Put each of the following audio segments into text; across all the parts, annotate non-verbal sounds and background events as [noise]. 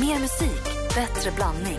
Mer musik, bättre blandning.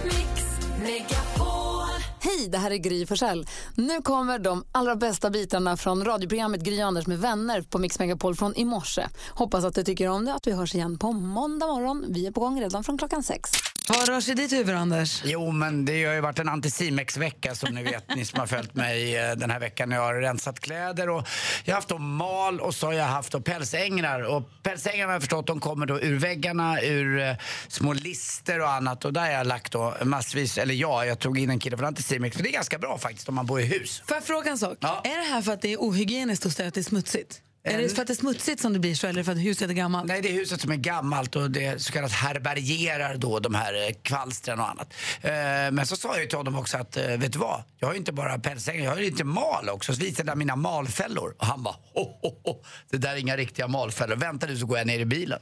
Hej, det här är Gry Forssell. Nu kommer de allra bästa bitarna från radioprogrammet Gry Anders med vänner på Mix Megapol från i morse. Hoppas att du tycker om det att vi hörs igen på måndag morgon. Vi är på gång redan från klockan sex. Vad rör sig i ditt huvud, Anders? Jo, men det har ju varit en antisimex-vecka som ni vet, ni som har följt mig eh, den här veckan. Jag har rensat kläder och jag har haft då mal och så har jag haft då pälsängrar. Och pälsängrar har jag förstått, de kommer då ur väggarna, ur eh, små lister och annat. Och där har jag lagt då massvis, eller ja, jag tog in en kille från antisimex. För det är ganska bra faktiskt om man bor i hus. Får jag fråga en sak? Ja. Är det här för att det är ohygieniskt att säga att det är smutsigt? Är det för att det är smutsigt som det blir så eller för att huset är gammalt? Nej, det är huset som är gammalt och det så kallat härbärgerar då de här eh, kvalstren och annat. Eh, Men så sa jag ju till honom också att, eh, vet du vad? Jag har ju inte bara pälsängar, jag har ju lite mal också. Så visade jag mina malfällor och han bara, ho, ho, ho, det där är inga riktiga malfällor. Vänta du så går jag ner i bilen.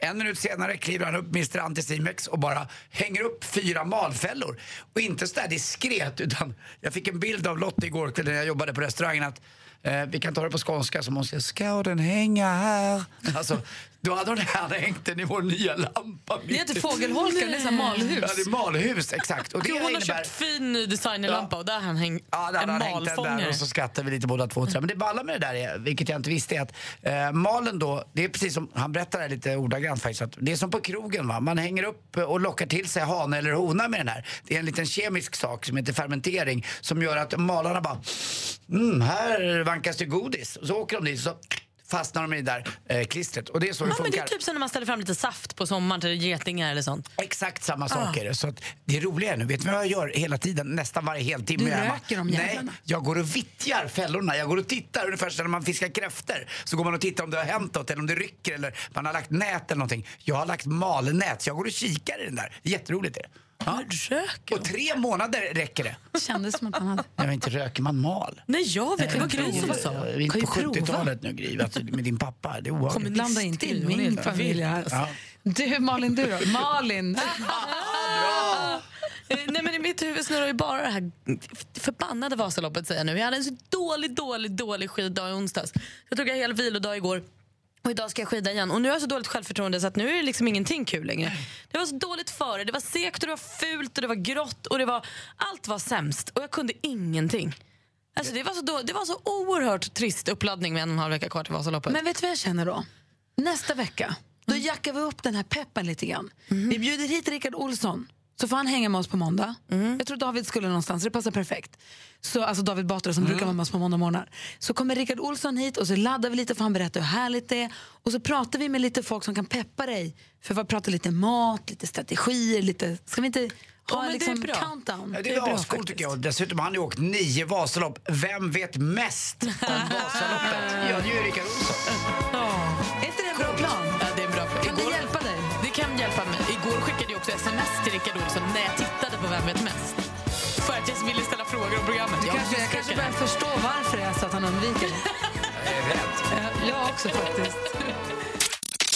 En minut senare kliver han upp, Mr Anticimex, och bara hänger upp fyra malfällor. Och inte sådär diskret, utan jag fick en bild av Lottie igår kväll när jag jobbade på restaurangen att eh, vi kan ta det på skånska som hon säger, ska den hänga [laughs] här? [laughs] Alltså, då hade hon [laughs] här hängt den i vår nya lampa. Det är inte fågelholkar, det är så här malhus. Ja, det är malhus, exakt. Och det Alltså, Hon har innebär... köpt fin ny designerlampa och där har han hängt Ja, där en hade han hängt den där malfångare. och så skrattade vi lite båda två. och sådär. Men det balla med det där, är, vilket jag inte visste, är att eh, malen då, det är precis som, han berättar det här lite ordagrant faktiskt, att det är som på krogen va. Man hänger upp och lockar till sig hane eller hona med den här. Det är en liten kemisk sak som heter fermentering som gör att malarna bara, mm, här vankas det godis. Och så åker de dit så fastnar de i det där eh, klistret. Och det är så det Ja, men funkar. det är typ som när man ställer fram lite saft på sommaren till getingar eller sånt. Ah. Exakt samma Ah. saker. Så att det roliga är nu, vet du vad jag gör hela tiden? Nästan varje heltimme. Du jag är hemma. röker de Nej, jävlarna. jag går och vittjar fällorna. Jag går och tittar, ungefär som när man fiskar kräftor. Så går man och tittar om det har hänt något eller om det rycker eller man har lagt nät eller någonting. Jag har lagt malnät, så jag går och kikar i den där. Jätteroligt är det. Ja. Röker Och tre månader räcker det. Det kändes som att man hade... Nej, men inte röker man mal. Nej, jag vet. Det var Gry som sa. Vi är Kan på ju prova. 70-talet nu, Gry, alltså, med din pappa. Det är Men obehagligt. blanda inte in min familj här. Ja. Du, Malin, du då? [laughs] Malin! Eh, Nej, men i mitt huvud snurrar ju bara det här förbannade Vasaloppet säger jag nu. Jag hade en så dålig, dålig, dålig skiddag i onsdags. Jag tog en hel vilodag igår. Och idag ska jag skida igen. Och nu har jag så dåligt självförtroende så att nu är det liksom ingenting kul längre. Det var så dåligt före. Det var segt och det var fult och det var grått och det var... Allt var sämst och jag kunde ingenting. Alltså det var så, då, det var så oerhört trist uppladdning med en och en halv vecka kvar till Vasaloppet. Men vet du vad jag känner då? Nästa vecka, då jackar vi upp den här peppen lite grann. Vi bjuder hit Rickard Olsson, så får han hänga med oss på måndag. Jag tror David skulle någonstans, det passar perfekt. Så, alltså David Batra som brukar vara med oss på måndag morgnar. Så kommer Rickard Olsson hit och så laddar vi lite för han berättar hur härligt det är. Och så pratar vi med lite folk som kan peppa dig. För vi pratar lite mat, lite strategier, lite... Ska vi inte ha men en det liksom är bra. countdown? Ja, det är, ascoolt tycker jag. Och Dessutom har han ju åkt nio Vasalopp. Vem vet [laughs] mest om Vasaloppet? Ja, det är ju Rickard Olsson. Är inte det en bra plan? Ja, det är bra. Kan det hjälpa dig? Det kan hjälpa mig. Igår skickade jag också sms till Rickard Olsson när jag tittade på Vem vet mest? För att jag ville ställa frågor om programmet. Jag Kanske, jag kanske börjar förstå varför det är så att han undviker det. Jag är rädd. Ja, Jag också faktiskt.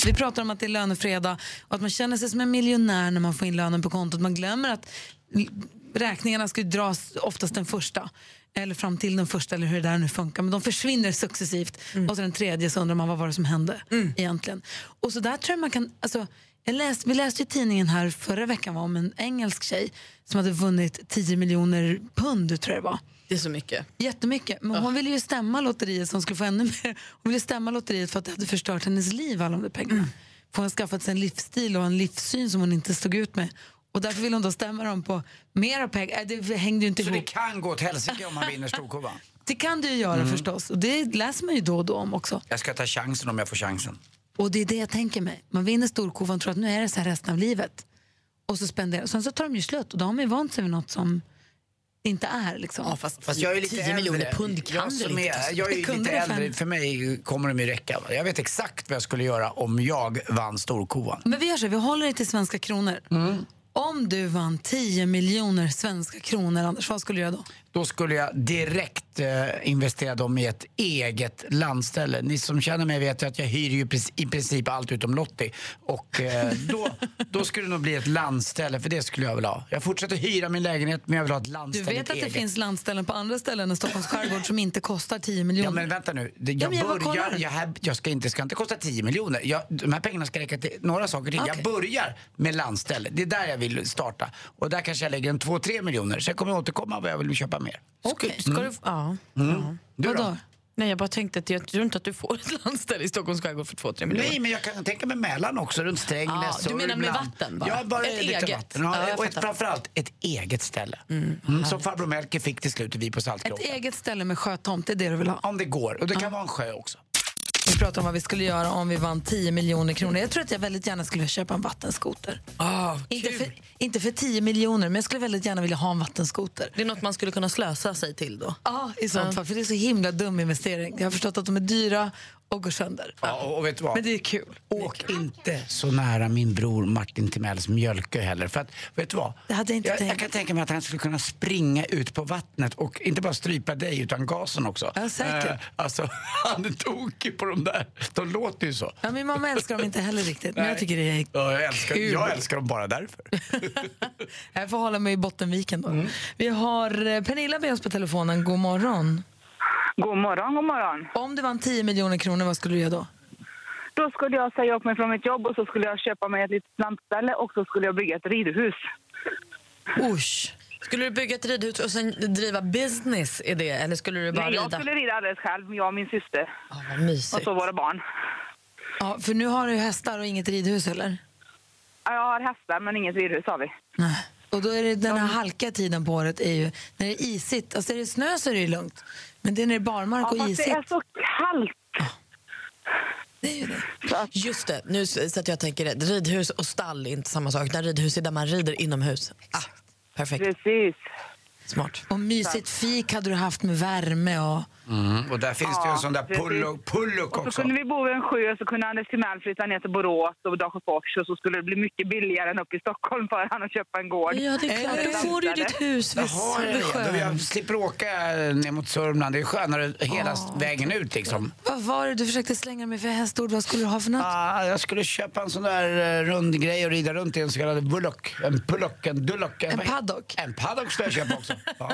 Vi pratar om att det är lönefredag och att man känner sig som en miljonär när man får in lönen på kontot. Man glömmer att l- räkningarna ska ju dras oftast den första eller fram till den första eller hur det där nu funkar. Men de försvinner successivt Mm. och så den tredje så undrar man vad var det som hände egentligen. Och så där tror jag man kan, alltså, jag läst, vi läste i tidningen här förra veckan va, om en engelsk tjej som hade vunnit 10 miljoner pund tror jag det var. Det är så mycket. Jättemycket. Men Ah. hon ville ju stämma lotteriet som skulle få ännu mer. Hon ville stämma lotteriet för att det hade förstört hennes liv, alla de där pengarna. Mm. För hon har skaffat sig en livsstil och en livssyn som hon inte stod ut med. Och därför ville hon då stämma dem på mera pengar. Äh, Det hängde ju inte Så det ihop. Det... kan Mm. gå åt helsike om han vinner Storkurvan. kan du ju göra förstås. Och det läser man ju då och då om också. Jag ska ta chansen om jag får chansen. Och det är det jag tänker mig. Man vinner storkovan och tror att nu är det så här resten av livet. Och så spenderar. Sen så tar de ju slut och då har man ju vant sig vid något som inte är. Liksom. Fast jag är ju lite 10 miljoner pund kan jag du som inte är, ta Jag är Det ju kunde lite det fan. äldre. För mig kommer de ju räcka. va. Jag vet exakt vad jag skulle göra om jag vann Storkovan. Men vi gör så, här, vi håller det till svenska Mm. kronor. Om du vann 10 miljoner svenska kronor, Anders, vad skulle du göra då? då skulle jag direkt eh, investera dem i ett eget landställe. Ni som känner mig vet ju att jag hyr ju pres- i princip allt utom Lottie. Och eh, då, då skulle det nog bli ett landställe, för det skulle jag vilja ha. Jag fortsätter hyra min lägenhet, men jag vill ha ett Du landställe. vet ett att det eget. finns landställen på andra ställen än Stockholms skärgård som inte kostar 10 miljoner. Ja men vänta nu, Det- jag, men jag bara börjar, kollar. jag, här, jag ska inte, ska inte kosta 10 miljoner. Jag, de här pengarna ska räcka till några saker till. Jag Okej. börjar med landställe, det är där jag vill starta. Och där kanske jag lägger en 2-3 miljoner, sen kommer jag återkomma vad jag vill köpa mer. Mm. Okej. Ska Mm. du, ja. ja. Du Vadå? Nej, jag bara tänkte att jag tror inte att du får ett landställe i Stockholms skärgård för 2-3 miljoner. Nej, men jag kan tänka mig Mälaren också, runt Strängnäs, Ja, du Sörmland. menar med vatten bara? Ja, bara Ett lite eget. vatten. Ja, Ja, jag och ett, fattar. framförallt ett eget ställe. Mm. som farbror Melker fick till slut och vi på Ett Saltkråkan. eget ställe med sjötomt, det är det du vill ha. Om det går. Och det kan vara en sjö också. Vi pratar om vad vi skulle göra om vi vann 10 miljoner kronor. Jag tror att jag väldigt gärna skulle vilja köpa en vattenskoter. Ah, Inte för, inte för 10 miljoner, men jag skulle väldigt gärna vilja ha en vattenskoter. Det är något man skulle kunna Alltså, slösa sig till då. Ja, i sånt fall. För det är så himla dum investering. Jag har förstått att de är dyra och går sönder. Ja, och, och vet du vad? Men det är kul. Åk inte så nära min bror Martin Timells mjölkö heller. För att, vet du vad? Det hade jag inte jag, jag tänkt. kan tänka mig att han skulle kunna springa ut på vattnet och inte bara strypa dig utan gasen också. Ja, säkert. Eh, alltså, [laughs] han är tokig på de där. De låter ju så. Ja, min mamma älskar dem inte heller riktigt, men Nej. jag tycker det är Ja, jag, älskar, kul. jag älskar dem bara därför. Jag får hålla mig i Bottenviken då. Mm. Vi har eh, Pernilla med oss på telefonen. God morgon. God morgon, god morgon. Om du vann 10 miljoner kronor, vad skulle du göra då? Då skulle jag säga upp mig från mitt jobb och så skulle jag köpa mig ett litet lantställe och så skulle jag bygga ett ridhus. Usch. Skulle du bygga ett ridhus och sen driva business i det? Eller skulle du bara Nej, jag rida? skulle rida alldeles själv, jag och min syster Ah, vad mysigt. och så våra barn. Ja, för nu har du ju hästar och inget ridhus heller. Ja, Jag har hästar men inget ridhus har vi. Nej. Och då är det den här halkiga tiden på året är ju när det är isigt. Alltså är det snö så är det ju lugnt. Men det är när det är barmark Ja, och fast det isigt. är så kallt. Det är ju det. Just det, nu s- så att jag tänker det. Ridhus och stall är inte samma sak. När ridhus är där man rider inomhus. Ah, perfekt, Precis. smart. Och mysigt fik hade du haft med värme och... Mm. Och där finns det ju en sån där precis. pullock, pullock Och så också. kunde vi bo vid en sjö och så kunde Anders Timell flytta ner till Borås och Dagsjöfors och så skulle det bli mycket billigare än uppe i Stockholm för han att köpa en gård. Ja, det är klart. Då får du ju ditt hus vid, Jaha, jag vid vet. Och sjön. jag slipper åka eh, ner mot Sörmland. Det är skönare hela vägen ut liksom. Vad var det du försökte slänga mig för hästord? Vad skulle du ha för något? Ah, jag skulle köpa en sån där eh, rund grej och rida runt i en så kallad bullock. En pullock, en dullock. En vad heter- paddock? En paddock skulle jag [laughs] köpa också. Ja,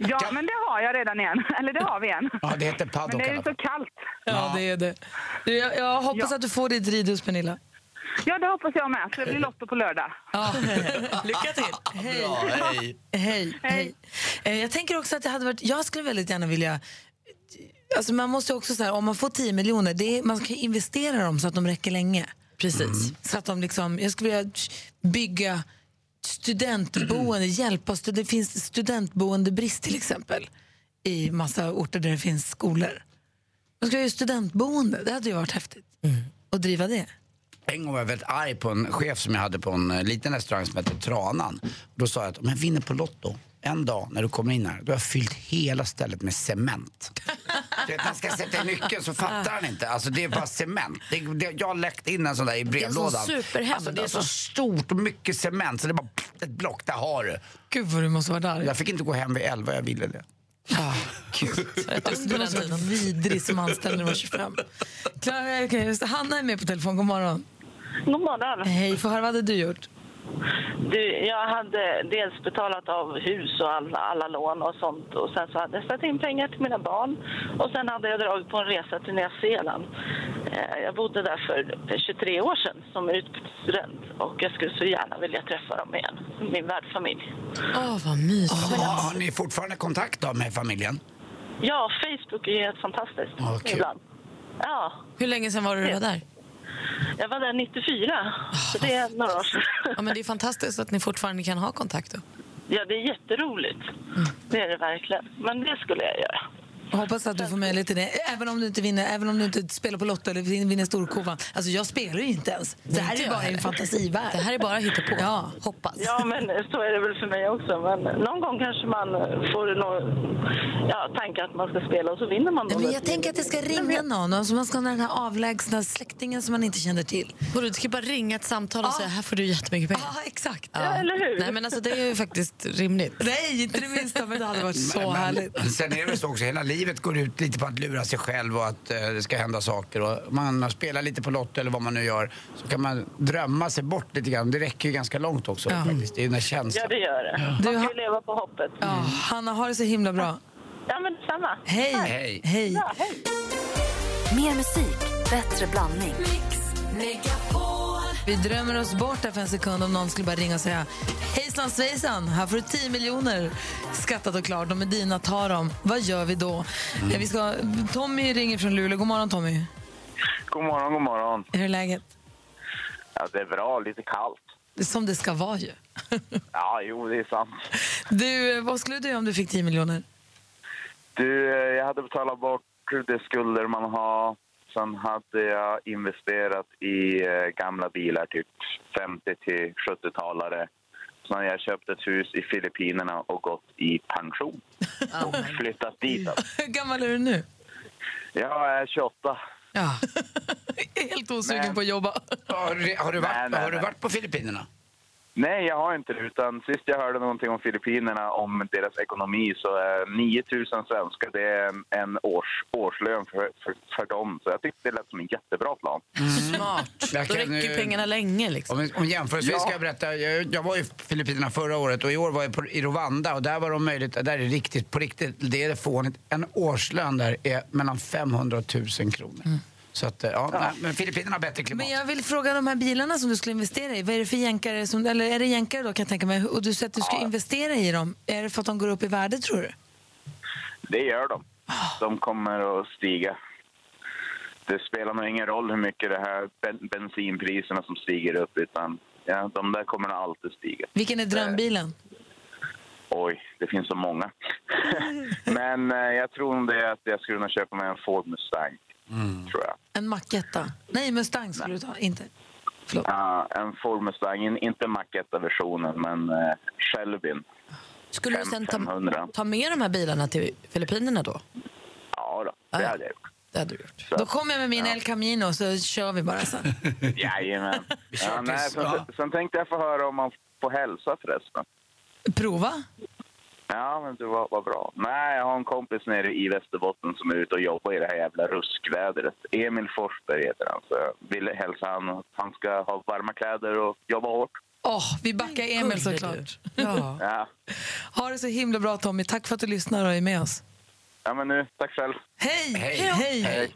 Ja, men det har jag redan igen. Eller det har vi igen. ja det heter Men paddock det i är ju alla så fall. kallt. Ja, det är det. Du, jag, jag hoppas Ja. att du får ditt ridhus, Pernilla. Ja, det hoppas jag med. Så det blir Lotto på lördag. [laughs] Lycka till. Hej. Bra, hej. Hej. Hej. Eh, Jag tänker också att det hade varit, jag skulle väldigt gärna vilja Alltså man måste ju också så här, om man får 10 miljoner, det är, man kan ju investera dem så att de räcker länge. Precis. Så att de liksom, jag skulle vilja bygga studentboende, hjälpa stud, Det finns studentboendebrist till exempel i massa orter där det finns skolor. Man ska ju studentboende, det hade ju varit häftigt. Mm. Och driva det. En gång var jag väldigt arg på en chef som jag hade på en eh, liten restaurang som hette Tranan. Då sa jag att om jag vinner på Lotto en dag när du kommer in här, då har jag fyllt hela stället med cement. Du vet, man ska sätta i nyckeln så fattar han inte. Alltså det är bara cement. Det, det, jag har läckt in en sån där i en brevlådan. sån superhämnd, alltså, det är så alltså. stort och mycket cement så det är bara pff, ett block, där har du. Gud vad du måste vara där. Ah, Jag fick inte gå hem vid elva, jag ville det. Rätt upp på Du den måste vara tiden. vidrig som anställd när du var 25. Klara, okay, Hanna är med på telefon. God morgon. God morgon. Hej, få höra vad hade du gjort? Du, jag hade dels betalat av hus och alla, alla lån och sånt och sen så hade jag satt in pengar till mina barn och sen hade jag dragit på en resa till Nya Zeeland. Eh, Jag bodde där för för 23 år sedan som utbytesstudent och jag skulle så gärna vilja träffa dem igen, min värdfamilj. Åh, vad mysigt. Har, har ni fortfarande kontakt då med familjen? Ja, Facebook är ju helt fantastiskt Ja, kul. ibland. Ja, Hur länge sedan var det du var där? jag var där 94, så det är några år sedan. Ah, Ja, men det är fantastiskt att ni fortfarande kan ha kontakt. Då. Mm. Ja, det är jätteroligt. Det är det verkligen. Men det skulle jag göra. Jag hoppas att du får möjlighet till det, även om du inte vinner, även om du inte spelar på Lotto eller vin- vinner storkovan. Alltså jag spelar ju inte ens. Det här är Inte ju jag bara en heller. fantasivärld. Det här är bara hittepå. Ja. Hoppas. Ja, men så är det väl för mig också. Men någon gång kanske man får nå- ja, tanken att man ska spela och så vinner man. då Nej, men jag lite. tänker att det ska ringa någon, och så man ska ha den här avlägsna släktingen som man inte känner till. Vadå, du ska bara ringa ett samtal och säga här får du jättemycket pengar. Ja, exakt. Ja. eller hur? Nej, men alltså, det är ju faktiskt rimligt. Nej, inte det minsta, men det hade varit så härligt. Men, sen är det väl så också, hela livet går ut lite på att lura sig själv och att eh, det ska hända saker. Och man, man spelar lite på Lotto eller vad man nu gör. Så kan man drömma sig bort lite grann. Det räcker ju ganska långt också faktiskt. Det är ju den här Mm. känslan. Ja, det gör det. Du Man har- ska ju leva på hoppet. Ja, Hanna, har det så himla bra. Ja, men samma. Hej! Hej. Hej. Ja, hej. Mer musik, bättre blandning. Vi drömmer oss bort där för en sekund om någon skulle bara ringa och säga Hejsan svejsan, här får du 10 miljoner skattat och klart. De är dina, ta dem. Vad gör vi då? Eh, Vi ska, Tommy ringer från Luleå. God morgon Tommy. God morgon, god morgon. Hur är läget? Ja, det är bra, lite [laughs] kallt. Det är Som det ska vara ju. Ja, jo, det är sant. Du, eh, vad skulle du göra om du fick 10 miljoner? Du, eh, jag hade betalat bort de skulder man har. Sen hade jag investerat i eh, gamla bilar, typ 50 till 70-talare. Sen har jag köpt ett hus i Filippinerna och gått i pension. Och flyttat dit. [laughs] Alltså. Hur gammal är du nu? Jag är 28. Ja. Helt osugen Men- på att jobba. Har, du- har, du varit, Nej, nej, har du nej. varit på Filippinerna? Nej, jag har inte det. Utan sist jag hörde någonting om Filippinerna, om deras ekonomi, så är 9 000 svenskar det är en, en års, årslön för, för, för dem. Så jag tyckte det lät som en jättebra plan. Smart. Jag Då kan räcker ju ju- pengarna länge. Liksom. Om, om jämförelsevis Ja. ska jag berätta. Jag, jag var i Filippinerna förra året och i år var jag på, i Rwanda och där var de möjligt, där är det riktigt, på riktigt, det är fånigt. En årslön där är mellan 500 och 1000 kronor. Mm. Så att, eh, ja, Nej, men Filippinerna har bättre klimat. Men jag vill fråga de här bilarna som du skulle investera i. Vad är det för jänkare? Som, eller är det jänkare då kan jag tänka mig? Och du säger att du ska investera i dem. Är det för att de går upp i värde tror du? Det gör de. De kommer att stiga. Det spelar nog ingen roll hur mycket det här ben, bensinpriserna som stiger upp, utan ja, de där kommer nog alltid stiga. Vilken är drömbilen? Oj, det finns så många. Men eh, jag tror nog det att jag skulle kunna köpa mig en Ford Mustang, tror jag. En Macetta? Nej, Mustang skulle du ta. Inte. Förlåt. Ja, en Ford Mustang, In- inte Macetta-versionen, men eh, Shelbyn. Skulle du Fem- sen ta, 500. ta med de här bilarna till Filippinerna då? Ja, då, det Ah, Ja. hade jag gjort. [laughs] Det hade du gjort. Så. Då kommer jag med min El Camino så kör vi bara sen. [laughs] Jajamän. kör Ja, nej, tills- sen, ja. sen tänkte jag få höra om man får hälsa förresten. Prova. Ja, men det var, var bra. Nej, jag har en kompis nere i Västerbotten som är ute och jobbar i det här jävla ruskvädret. Emil Forsberg heter han, så jag ville hälsa han att han ska ha varma kläder och jobba hårt. Åh, vi backar Emil Gullig såklart. du. Ja. Ja, Ha det så himla bra Tommy. Tack för att du lyssnar och är med oss. ja men nu, tack själv. Hej! Hej. Hej.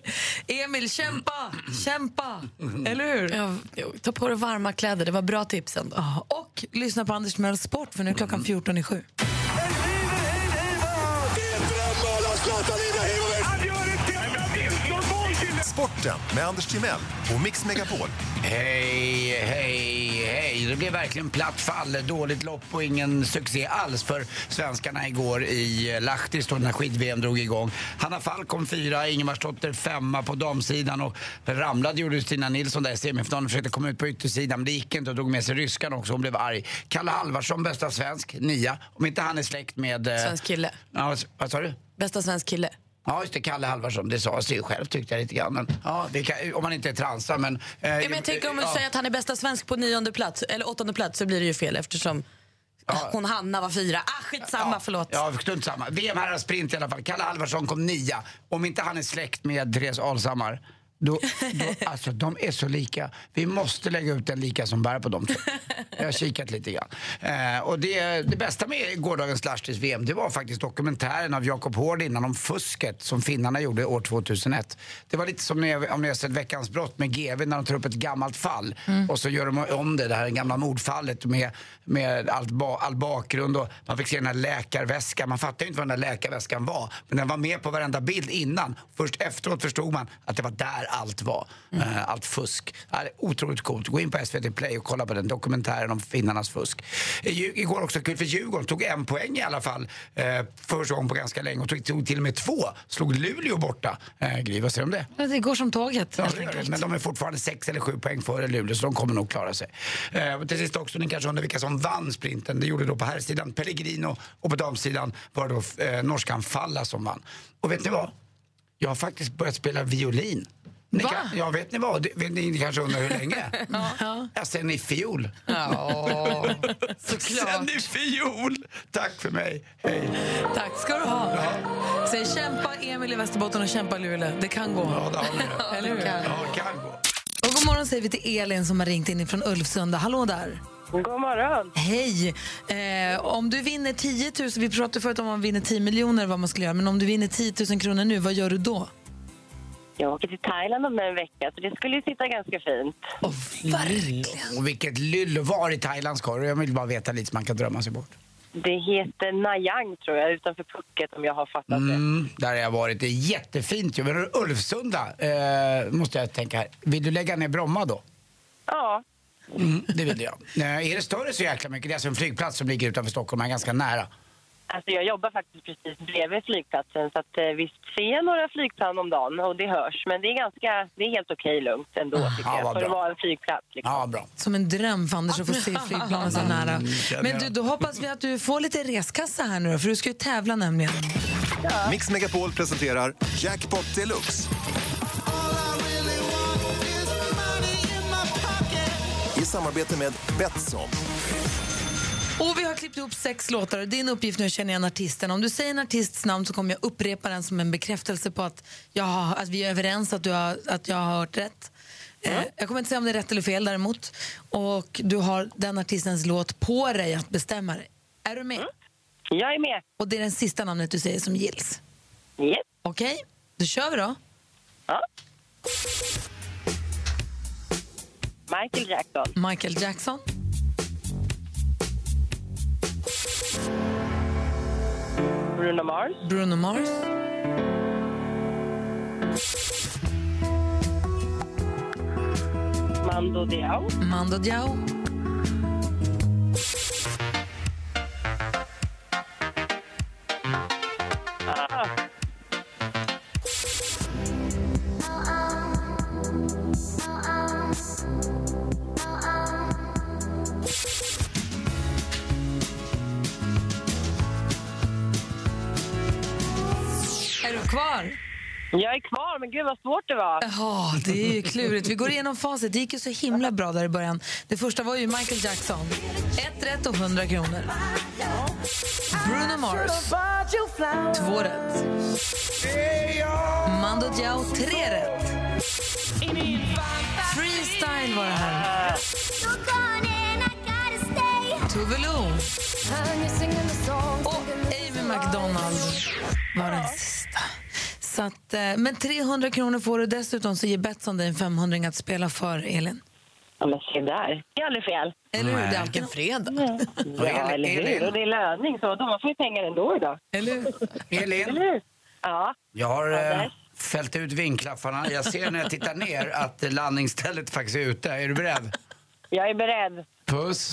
Emil, kämpa! Kämpa! Eller hur? Ja, jo, ta på dig varma kläder. Det var bra tips ändå. Mm. Ja, Och lyssna på Anders Timell Sport för nu är klockan 14 i sju. Sporten med Anders Timell och Mix Megapol. Hej, hej, hej. Det blev verkligen platt fall, dåligt lopp och ingen succé alls för svenskarna igår i Lahtis då när skid-VM drog igång. Hanna Falk kom fyra, Ingemarsdotter femma på damsidan och ramlade gjorde Stina Nilsson där i semifinalen. Försökte komma ut på yttersidan men det gick inte och drog med sig ryskan också. Hon blev arg. Kalle Halvarsson, bästa svensk, nia. Om inte han är släkt med... eh, Svensk kille. Ja, vad sa du? Bästa svensk kille. Ja, just det. Kalle Halvarsson. Det sa sig ju själv tyckte jag lite grann. Men, ja, det kan, om man inte är transa, men... eh, Ja, men jag tänker om du ja. säger att han är bästa svensk på nionde plats, eller åttonde plats, så blir det ju fel eftersom hon Hanna var fyra. Ah, skitsamma, förlåt. Ja, strunt samma. VM här sprint i alla fall. Kalle Halvarsson kom nia. Om inte han är släkt med Therese Alshammar, då, [laughs] då, alltså de är så lika. Vi måste lägga ut en lika som bär på dem två. Jag har kikat lite grann. Eh, och det, det bästa med gårdagens Lahtis VM, det var faktiskt dokumentären av Jakob Hård innan om fusket som finnarna gjorde år 2001. Det var lite som ni, om ni har sett Veckans brott med GV när de tar upp ett gammalt fall Mm. och så gör de om det, det här gamla mordfallet med, med allt ba, all bakgrund och man fick se den här läkarväskan. Man fattade ju inte vad den där läkarväskan var men den var med på varenda bild innan. Först efteråt förstod man att det var där allt var. Eh, Allt fusk. Ja, det är otroligt coolt. Gå in på SVT Play och kolla på den dokumentären om finnarnas fusk. I- Igår också kul för Djurgården. Tog en poäng i alla fall eh, för första gången på ganska länge och tog, tog till och med två. Slog Luleå borta. Eh, Gry, vad säger du om det? Det går som tåget. Ja, helt det gör enkelt. det, men de är fortfarande sex eller sju poäng före Luleå så de kommer nog klara sig. Eh, och till sist också, ni kanske undrar vilka som vann sprinten. Det gjorde då på herrsidan Pellegrino och på damsidan var det då eh, norskan Falla som vann. Och vet ni vad? Jag har faktiskt börjat spela violin. Ni Va? kan, ja, vet ni vad? Det- Vet ni, ni kanske undrar hur [laughs] länge? ja. Ja, sen i fjol. Ja, Sen såklart. i fjol! [laughs] Tack för mig. Hej. Tack ska du ha. Säg kämpa Emil i Västerbotten och kämpa Luleå. Det kan gå. Ja, där har ni det. [laughs] Eller hur? Ja, kan gå. Och god morgon säger vi till Elin som har ringt in från Ulvsunda. Hallå där! God morgon. Hej! Eh, om du vinner 10 000, vi pratade förut om man vinner 10 miljoner vad man skulle göra, men om du vinner 10 000 kronor nu, vad gör du då? Jag åker till Thailand om en vecka, så det skulle ju sitta ganska fint. Oh, verkligen! Och vilket lyllo. Var i Thailand ska du? Jag vill bara veta lite så man kan drömma sig bort. Det heter Nayang, tror jag, utanför Phuket om jag har fattat det. Mm, där har jag varit. Det är jättefint ju. Men Ulvsunda, eh, måste jag tänka här. Vill du lägga ner Bromma då? Ja, Mm, det vill jag. Eh, är det större så jäkla mycket? Det är alltså en flygplats som ligger utanför Stockholm, men ganska nära. alltså jag jobbar faktiskt precis bredvid flygplatsen så att eh, visst ser jag några flygplan om dagen och det hörs. Men det är ganska, det är helt okej lugnt ändå tycker Ja, jag, vad för att bra. vara en flygplats liksom. Ja, bra. Som en dröm för Anders att få se flygplanen så nära. Men du, då hoppas vi att du får lite reskassa här nu då, för du ska ju tävla nämligen. Mix Megapol presenterar Jackpot Deluxe. I samarbete med Betsson. Och vi har klippt ihop sex låtar och din uppgift nu är att känna igen artisten. Om du säger en artists namn så kommer jag upprepa den som en bekräftelse på att, jag har, att vi är överens, att, du har, att jag har hört rätt. Eh, jag kommer inte säga om det är rätt eller fel däremot. Och du har den artistens låt på dig att bestämma dig. Är du med? Mm. Jag är med. Och det är det sista namnet du säger som gills. Yes. Okej, då kör vi då. Ja. Michael Jackson, Michael Jackson, Bruno Mars, Bruno Mars, Mando Diao, Mando Diao, är du kvar? Jag är kvar, men gud vad svårt det var. Ja, det är ju klurigt. Vi går igenom facit. Det gick ju så himla bra där i början. Det första var ju Michael Jackson. Ett rätt och 100 kronor. Bruno Mars. Två rätt. Mando Diao. Tre rätt. Freestyle var det här. Tuvalu. Och Amy McDonald var den sista. Så att, eh, men 300 kronor får du dessutom så ger Betsson dig en 500 att spela för, Elin. Ja, men se där, det är aldrig fel. Eller hur? Det är alltid en fredag. Ja, eller hur. Och det är löning, så då man får ju pengar ändå idag. Eller hur? Eller Elin, hur? Ja. jag har eh, där. fällt ut vinklaffarna. Jag ser när jag tittar ner att eh, landningsstället faktiskt är ute. Är du beredd? Jag är beredd. Puss.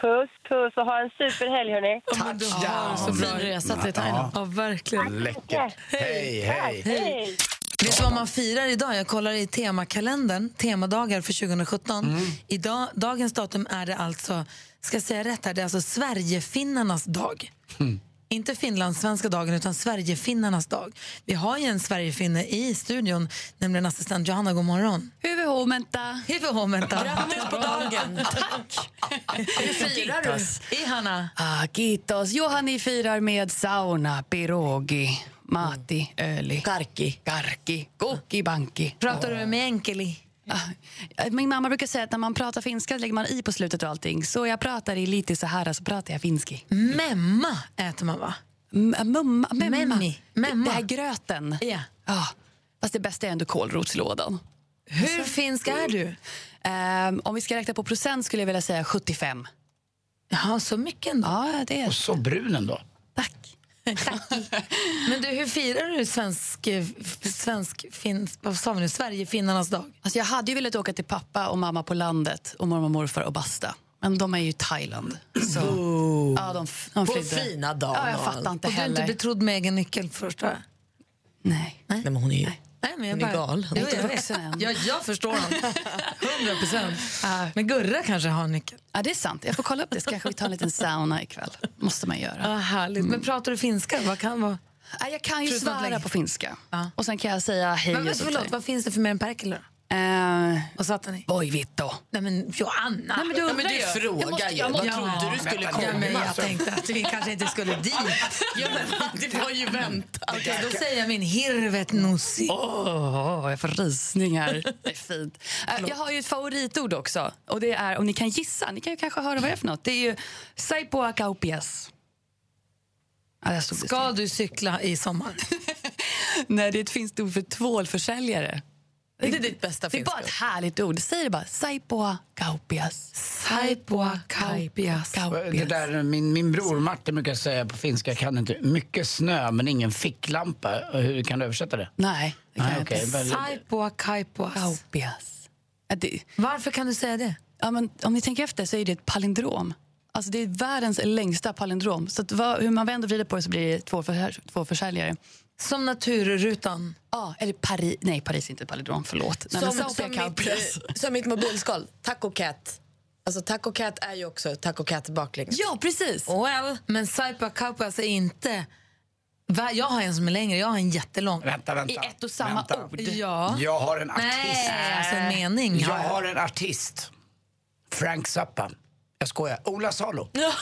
Puss, puss och ha en superhelg, hörni. Men du har så bra resa till Thailand. Ja, verkligen. Läckert. Hej, hej. Hej! Vet du vad man firar idag? Jag kollar i temakalendern, temadagar för 2017. Mm. Idag, dagens datum är det alltså, ska jag säga rätt här, det är alltså Sverigefinnarnas dag. Mm. Inte finlandssvenska dagen, utan Sverigefinnarnas dag. Vi har ju en Sverigefinne i studion, nämligen assistent Johanna. God morgon. Huvudhovmänta. Huvudhåmenta. Grattis på dagen. Tack. Hur firar du? I Hanna. Ah, kiitos. Johani firar med sauna, pirogi, mati, öli. Karki. Karki. Kukkibanki. Pratar du med Enkeli? Ah, Min mamma brukar säga att när man pratar finska lägger man i på slutet och allting. Så jag pratar i lite så här, så pratar jag finski. Memma äter man, va? M- Mumma. Memma. Memmi. Memma. Det här gröten. Ja. Ah, fast det bästa är ändå kålrotslådan. Alltså, Hur finsk är du? Ehm, om vi ska räkna på procent skulle jag vilja säga 75. Jaha, så mycket ändå. Ja, det är Så brun ändå. Tack. Men du, hur firar du svensk, eh, f- svensk fin, vad sa vi nu, Sverigefinnarnas dag? Alltså jag hade ju velat åka till pappa och mamma på landet och mormor och morfar och basta. Men de är ju i Thailand. Så, ja, de, f- de På flydde. fina dagen Ja, jag och fattar allt. inte Och du är heller. inte betrodd med egen nyckel förstår jag. Nej. Nej, men hon är ju... Nej, men jag Hon är galen. Jo, jag, Inte vet. vuxen än. ja, jag förstår honom. 100 procent. Men Gurra kanske har nyckeln. Ja, det är sant. Jag får kolla upp det. Så kanske vi tar en liten sauna ikväll. måste man göra. Ja, härligt. Men pratar du finska? Vad Mm. kan vara? Nej, jag kan ju Förutom att lägga- svära på finska. Ja. Och sen kan jag säga hej Men, men, och sånt förlåt, vad finns det för mer än Perkele då? där. Eh, Vad satte ni? Voi vittu. Nej men Johanna! Nej, men du undrar ju. frågar Jag måste- ju. jag Vad måste- trodde du skulle Ja, men komma? jag tänkte att vi kanske inte skulle dit. Ja, men, det var ju väntat. Okej, då säger jag min hirvet nossi. Åh, jag får rysningar. Det är fint. Eh, Jag har ju ett favoritord också. Och det är, om ni kan gissa, ni kan ju kanske höra vad det är för något. Det är ju Saipoa kaupias. Ja, där stod det Ska du cykla i Oh sommar? [laughs] Nej, det är ett finskt ord för tvålförsäljare. Det är ditt bästa Det är bara ett härligt ord. Säg det bara. Saipoa kaupias. Saipoa kaupias. Det där, min, min bror Martin brukar säga på finska, jag kan inte, mycket snö men ingen ficklampa. Hur kan du översätta det? Nej, det kan Nej, jag okej. inte. Väl- Saipoa kaupias. Kaupias. Ja, det, Varför kan du säga det? ja, men, om ni tänker efter så är det ett palindrom. Alltså det är världens längsta palindrom. Så att vad, hur man vänder och vrider på det så blir det två, försär, två försäljare. Som naturrutan. Ja, eller Paris. Nej, Paris är inte ett palindrom. Förlåt. Nej, men Som, Sofia som, Kaupias. mitt, som mitt mobilskal, Taco Cat. Alltså Taco Cat är ju också Taco Cat baklänges. Ja, precis. Well. Men Saipoa kaupias är alltså inte... Va? Jag har en som är längre, jag har en jättelång. Vänta, vänta. I ett och samma vänta. ord. Ja. Jag har en artist. Nej, alltså en mening. Jag har en artist. Frank Zappa. Jag skojar. Ola Salo. jag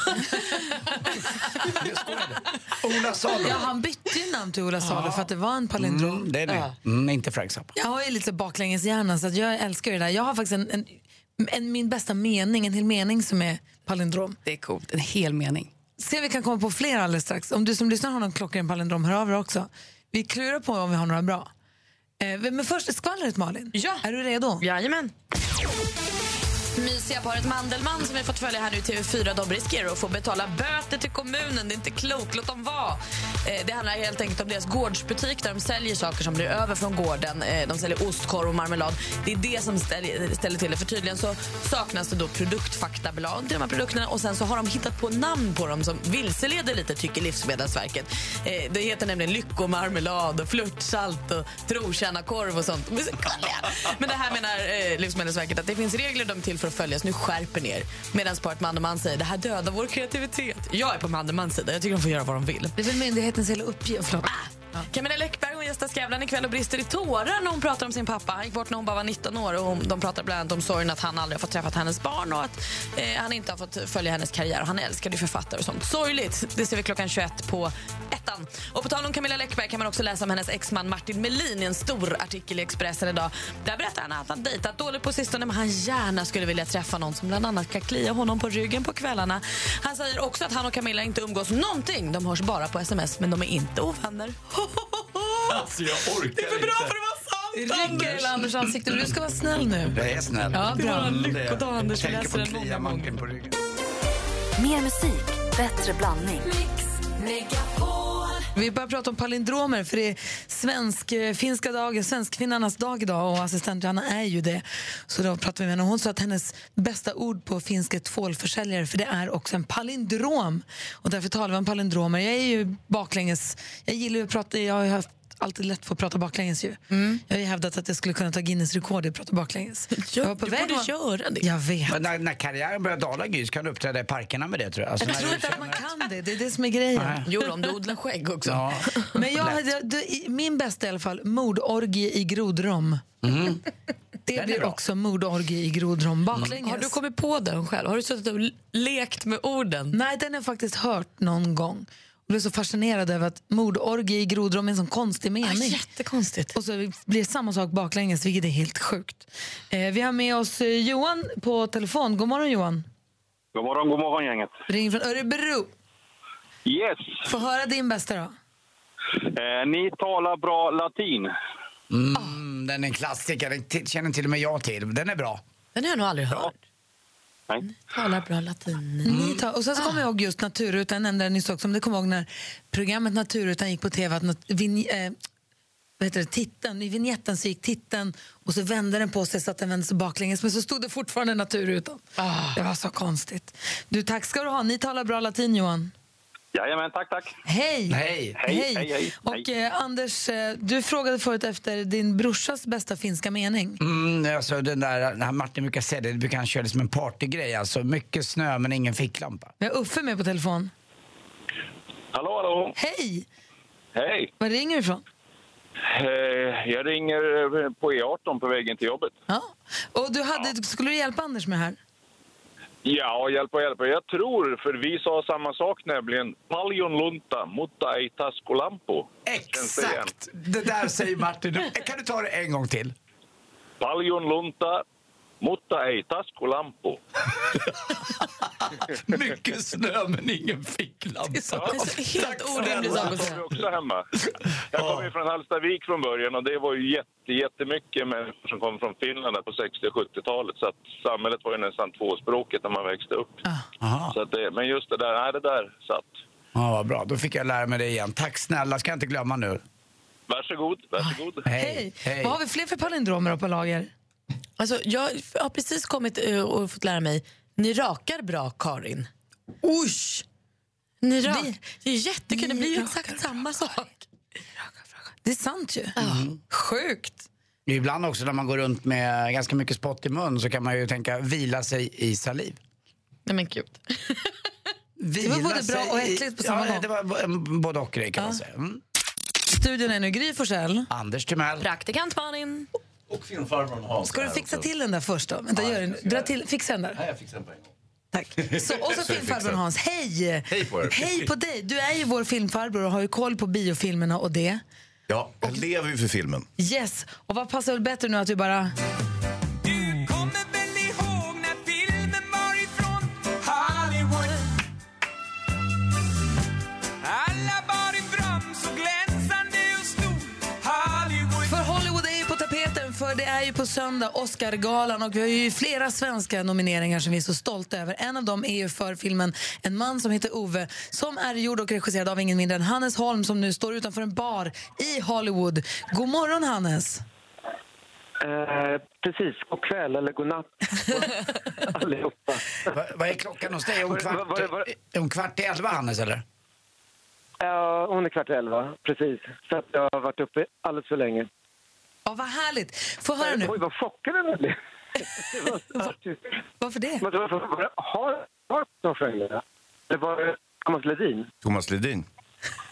skojade. Ola Salo. Ja, han bytte ju namn till Ola Salo för att det var en palindrom. Mm, det är det. Mm, inte Frank Zappa. Jag har ju lite så baklängesjärna så att jag älskar ju det där. Jag har faktiskt en, en, en, min bästa mening, en hel mening som är palindrom. Det är coolt. En hel mening. Se om vi kan komma på fler alldeles strax. Om du som lyssnar har någon klockren palindrom, hör av dig också. Vi klurar på om vi har några bra. Eh, men först skvallret Malin. Ja. Är du redo? Jajamän. Mysiga paret Mandelmann som vi fått följa här nu i TV4, de riskerar att få betala böter till kommunen. Det är inte klokt, låt dem vara. Eh, Det handlar helt enkelt om deras gårdsbutik där de säljer saker som blir över från gården. Eh, De säljer ostkorv och marmelad. Det är det som ställer, ställer till det. För tydligen så saknas det då produktfaktablad till de här produkterna och sen så har de hittat på namn på dem som vilseleder lite, tycker Livsmedelsverket. Eh, Det heter nämligen lyckomarmelad och flörtsalt och trotjänarkorv och sånt. Men så gulliga. Men det här menar eh, Livsmedelsverket att det finns regler de är till för att följas. Nu skärper ner. Medan paret Mandelmann säger det här dödar vår kreativitet. Jag är på Mandelmanns sida. Jag tycker de får göra vad de vill. Ah! Det är väl myndighetens hela uppgift. Förlåt. Camilla Läckberg hon gästar Skavlan ikväll och brister i tårar när hon pratar om sin pappa. Han gick bort när hon bara var 19 år och hon, de pratar bland annat om sorgen att han aldrig har fått träffa hennes barn och att eh, han inte har fått följa hennes karriär. Och Han älskade ju författare och sånt. Sorgligt. Det ser vi klockan 21 på ettan. Och på tal om Camilla Läckberg kan man också läsa om hennes exman Martin Melin i en stor artikel i Expressen idag. Där berättar han att han dejtat dåligt på sistone men han gärna skulle vilja träffa någon som bland annat kan klia honom på ryggen på kvällarna. Han säger också att han och Camilla inte umgås någonting. De hörs bara på sms men de är inte ovänner. Alltså jag orkar inte. Det är för bra för Rycker hela Anders ansikte. Du ska vara snäll nu. Jag är snäll. Ja, bra. Lyckodag, Anders. Vi Tänker läser på den många klia gånger. manken på ryggen. Mer musik, bättre blandning. Vi börjar prata om palindromer för det är svensk-finska dagen, svenskkvinnarnas dag idag och assistent Johanna är ju det. Så då pratade vi med henne och hon sa att hennes bästa ord på finska är tvålförsäljare för det är också en palindrom. Och därför talar vi om palindromer. Jag är ju baklänges, jag gillar ju att prata, jag har ju haft alltid lätt för att prata baklänges ju. Jag har ju hävdat att jag skulle kunna ta Guinness rekord i att prata baklänges. jag var på du väg borde att- göra det. Jag vet. Men när, när karriären börjar dala Gys kan du uppträda i parkerna med det tror jag. Alltså, Jag när tror du inte att man känner- kan det, det är det som är grejen. Jo, om du odlar skägg också. Ja. Men jag, jag, du, i- min bästa i alla fall, mordorgie i Grodrom. Mm. [laughs] Det blir bra. också mordorgie i Grodrom baklänges. Mm. Har du kommit på den själv? Har du suttit och lekt med orden? Nej, den har jag faktiskt hört någon gång. Jag blev så fascinerad över att mordorgie i Grodrom är en sån konstig mening. Ah, jättekonstigt. Och så blir det samma sak baklänges, vilket är helt sjukt. Eh, vi har med oss eh, Johan på telefon. God morgon Johan. God morgon, god morgon gänget. Ring från Örebro. Yes, Få höra din bästa då. eh, ni talar bra latin. Mm, den är en klassiker, den t- känner till och med jag till. Den är bra. Den har jag nog aldrig hört. Nej. Talar bra latin. Mm. Ni tar, och sen så kommer jag ihåg just Naturrutan, jag nämnde det nyss också, men det kommer jag ihåg när programmet Naturrutan gick på tv, att nat- vin, eh, vad heter det, titeln, i vignetten så gick titeln och så vände den på sig så att den vände sig baklänges, men så stod det fortfarande Naturrutan. Ah. Det var så konstigt. Du, tack ska du ha. Ni talar bra latin, Johan. Jajamän, tack, tack. Hej! Hej! Hej! hej, hej. Och eh, Anders, eh, du frågade förut efter din brorsas bästa finska mening. Mm, alltså den där, när Martin brukar säga det, det brukar han köra det som en partygrej. Alltså mycket snö men ingen ficklampa. Vi har Uffe med på telefon. Hallå, hallå. Hej! Hej. Var ringer du ifrån? Eh, Jag ringer eh, på E18 på vägen till jobbet. Ja. Och du hade, skulle du hjälpa Anders med det här? Ja, hjälp och hjälp. Jag tror, för vi sa samma sak nämligen. Paljon lunta, mutta ei taskulampu. Exakt! Det där säger Martin. Kan du ta det en gång till? Paljon lunta, mutta ei [laughs] taskulampu. Mycket snö men ingen ficklampa. Det är så, helt orimlig sak att säga. också hemma. Jag kommer ju från Hallstavik från början och det var ju jätte, jättemycket människor som kom från Finland där på 60 och 70-talet så att samhället var ju nästan tvåspråkigt när man växte upp. Ah. Så att det, men just det där, nej det där satt. Ja, vad bra. Då fick jag lära mig det igen. Tack snälla, ska jag inte glömma nu. Ah, Varsågod, varsågod. Hej. Vad har vi fler för palindromer då på lager? Alltså, jag har precis kommit eh, och fått lära mig, ni rakar bra Karin. Usch! Ni rak, det, är jättekul, det blir ju exakt samma sak. Det är sant ju. Sjukt. Mm. Ibland också när man går runt med ganska mycket spott i mun så kan man ju tänka vila sig i saliv. Nej men gud. [laughs] Det var både bra och äckligt på samma ja, gång. det var b- både och grej kan man säga. Mm. Studion är nu Gry Forssell. Anders Timell. Praktikant Malin. Och filmfarbrorn Hans. Ska du fixa till den där först då? Vänta, gör den. Dra till, fixa den där. Nej, jag fixar den på en gång. Tack. Så, och [laughs] så Så är det filmfarbror fixat. Hans, hej! Hej på er. Hej på dig! Du är ju vår filmfarbror och har ju koll på biofilmerna och det. Ja, jag lever ju för filmen. Yes, och vad passar väl bättre nu att vi bara... kommer väl ihåg när filmen var ifrån Hollywood? Alla bar en dröm så glänsande och stor Hollywood För Hollywood är ju på tapeten, för det är ju på söndag Oscargalan och vi har ju flera svenska nomineringar som vi är så stolta över. En av dem är ju för filmen En man som heter Ove som är gjord och regisserad av ingen mindre än Hannes Holm som nu står utanför en bar i Hollywood. God morgon Hannes! Eh, precis, god kväll eller god [laughs] natt allihopa. Va- Vad är klockan hos dig? Är hon Var- var- kvart, var- var- är hon kvart i elva, Hannes, eller? Ja, hon är kvart i elva, precis. Så att jag har varit uppe alldeles för länge. [laughs] Ja, vad härligt! Få höra nu. Oj, vad chockad jag blev. Det var så faktiskt- Varför det? Men det var- var det Har Harp som sjöng det? Det var det Thomas Ledin. Thomas Ledin.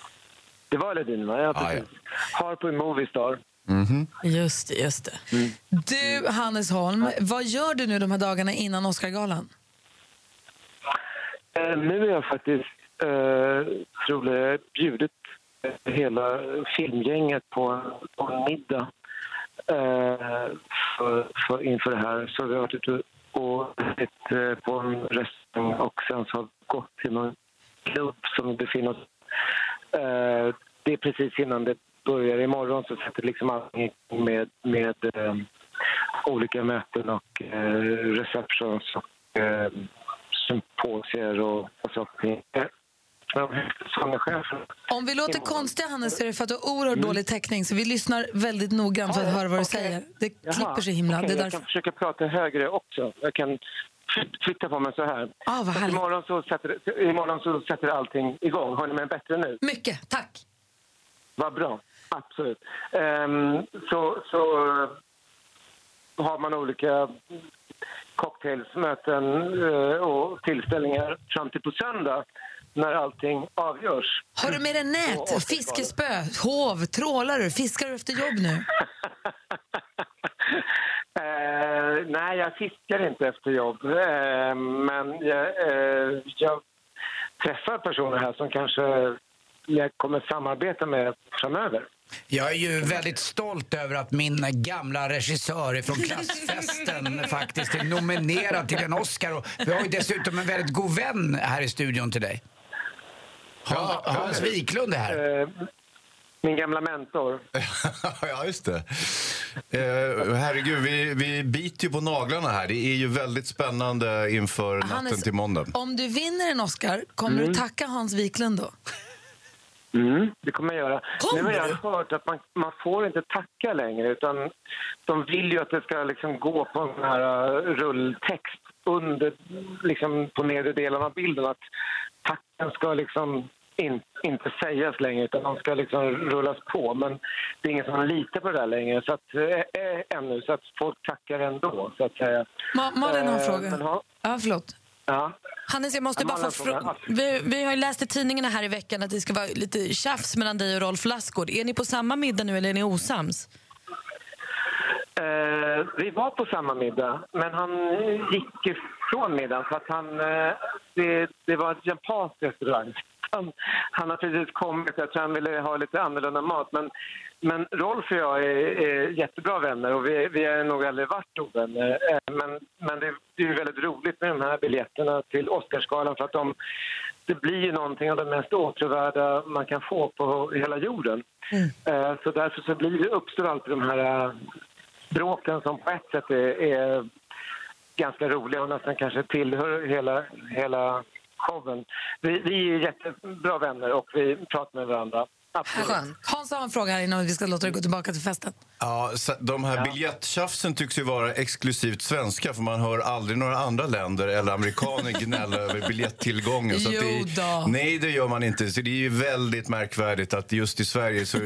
[laughs] Det var Ledin, va? Ja, precis. Harp och Moviestar. Mm. Just det, just det. Du Hannes Holm, vad gör du nu de här dagarna innan Oscargalan? Eh, nu är jag faktiskt, eh, tror jag, bjudit eh, hela filmgänget på, på en middag eh, för, för, inför det här. Så vi har varit ute och ätit eh, på en restaurang och sen så har vi gått till någon klubb som befinner oss... Eh, det är precis innan det börjar. Imorgon så sätter liksom allting igång med, med eh, olika möten och eh, receptions och eh, symposier och saker. Sångerchefen Om vi låter konstiga Hannes så är det för att du har oerhört Mm. dålig täckning så vi lyssnar väldigt noggrant för att höra vad du säger. Det klipper så himla. okej, det är Jag därför. kan försöka prata högre också. Jag kan fly- flytta på mig så här. Ah, vad så härligt. imorgon, så sätter, imorgon så sätter allting igång. Har ni mig bättre nu? Mycket, tack. Vad bra. Absolut. Ehm, så, så eh, har man olika cocktailsmöten eh, och tillställningar fram till på söndag när allting avgörs. Har du med dig nät, fiskespö, hov, trålar du? Fiskar du efter jobb nu? Eh, nej, jag fiskar inte efter jobb. Eh, men jag, eh, jag träffar personer här som kanske jag kommer samarbeta med framöver. Jag är ju väldigt stolt över att min gamla regissör [laughs] från klassfesten faktiskt är nominerad till en Oscar. Och vi har ju dessutom en väldigt god vän här i studion till dig. Hans, Hans Wiklund är här. Min gamla Eh, mentor. ja, just det. Eh, herregud, vi, vi biter ju på naglarna här. Det är ju väldigt spännande inför natten Hannes, till måndag. Om du vinner en Oscar, kommer Mm. du tacka Hans Wiklund då? Mm, det kommer jag göra. Kommer nu har du? jag hört att man, man får inte tacka längre utan de vill ju att det ska liksom gå på en sån här eh, rulltext under, liksom på nedre delen av bilden att tacken ska liksom in, inte sägas längre utan de ska liksom rullas på. Men det är ingen som litar på det där längre så att, eh, eh, ännu så att folk tackar ändå så att säga. Ma Malin har en Eh, fråga. men ha- Ja, förlåt. Ja. Hannes, jag måste Ja, bara få Malin har en fråga. fråga. Vi, vi har ju läst i tidningarna här i veckan att det ska vara lite tjafs mellan dig och Rolf Lassgård. Är ni på samma middag nu eller är ni osams? Eh, vi var på samma middag, men han gick ifrån middagen för att han... Eh, det, det var en japansk restaurang. Han, han har precis kommit, jag tror han ville ha lite annorlunda mat. Men, men Rolf och jag är, är jättebra vänner och vi, vi har nog aldrig varit ovänner. Eh, men men det, det är ju väldigt roligt med de här biljetterna till Oscarsgalan för att de, det blir ju någonting av det mest åtråvärda man kan få på hela jorden. Eh, så därför så blir det, uppstår alltid de här eh, bråken som på ett sätt är, är ganska roliga och nästan kanske tillhör hela, hela showen. Vi, vi är jättebra vänner och vi pratar med varandra. Absolut. Äh, Hans har en fråga här innan vi ska låta dig gå tillbaka till festen. Ja, så de här biljetttjafsen tycks ju vara exklusivt svenska för man hör aldrig några andra länder eller amerikaner gnälla över biljettillgången. Så att Jo det, då. nej, det gör man inte. Så det är ju väldigt märkvärdigt att just i Sverige så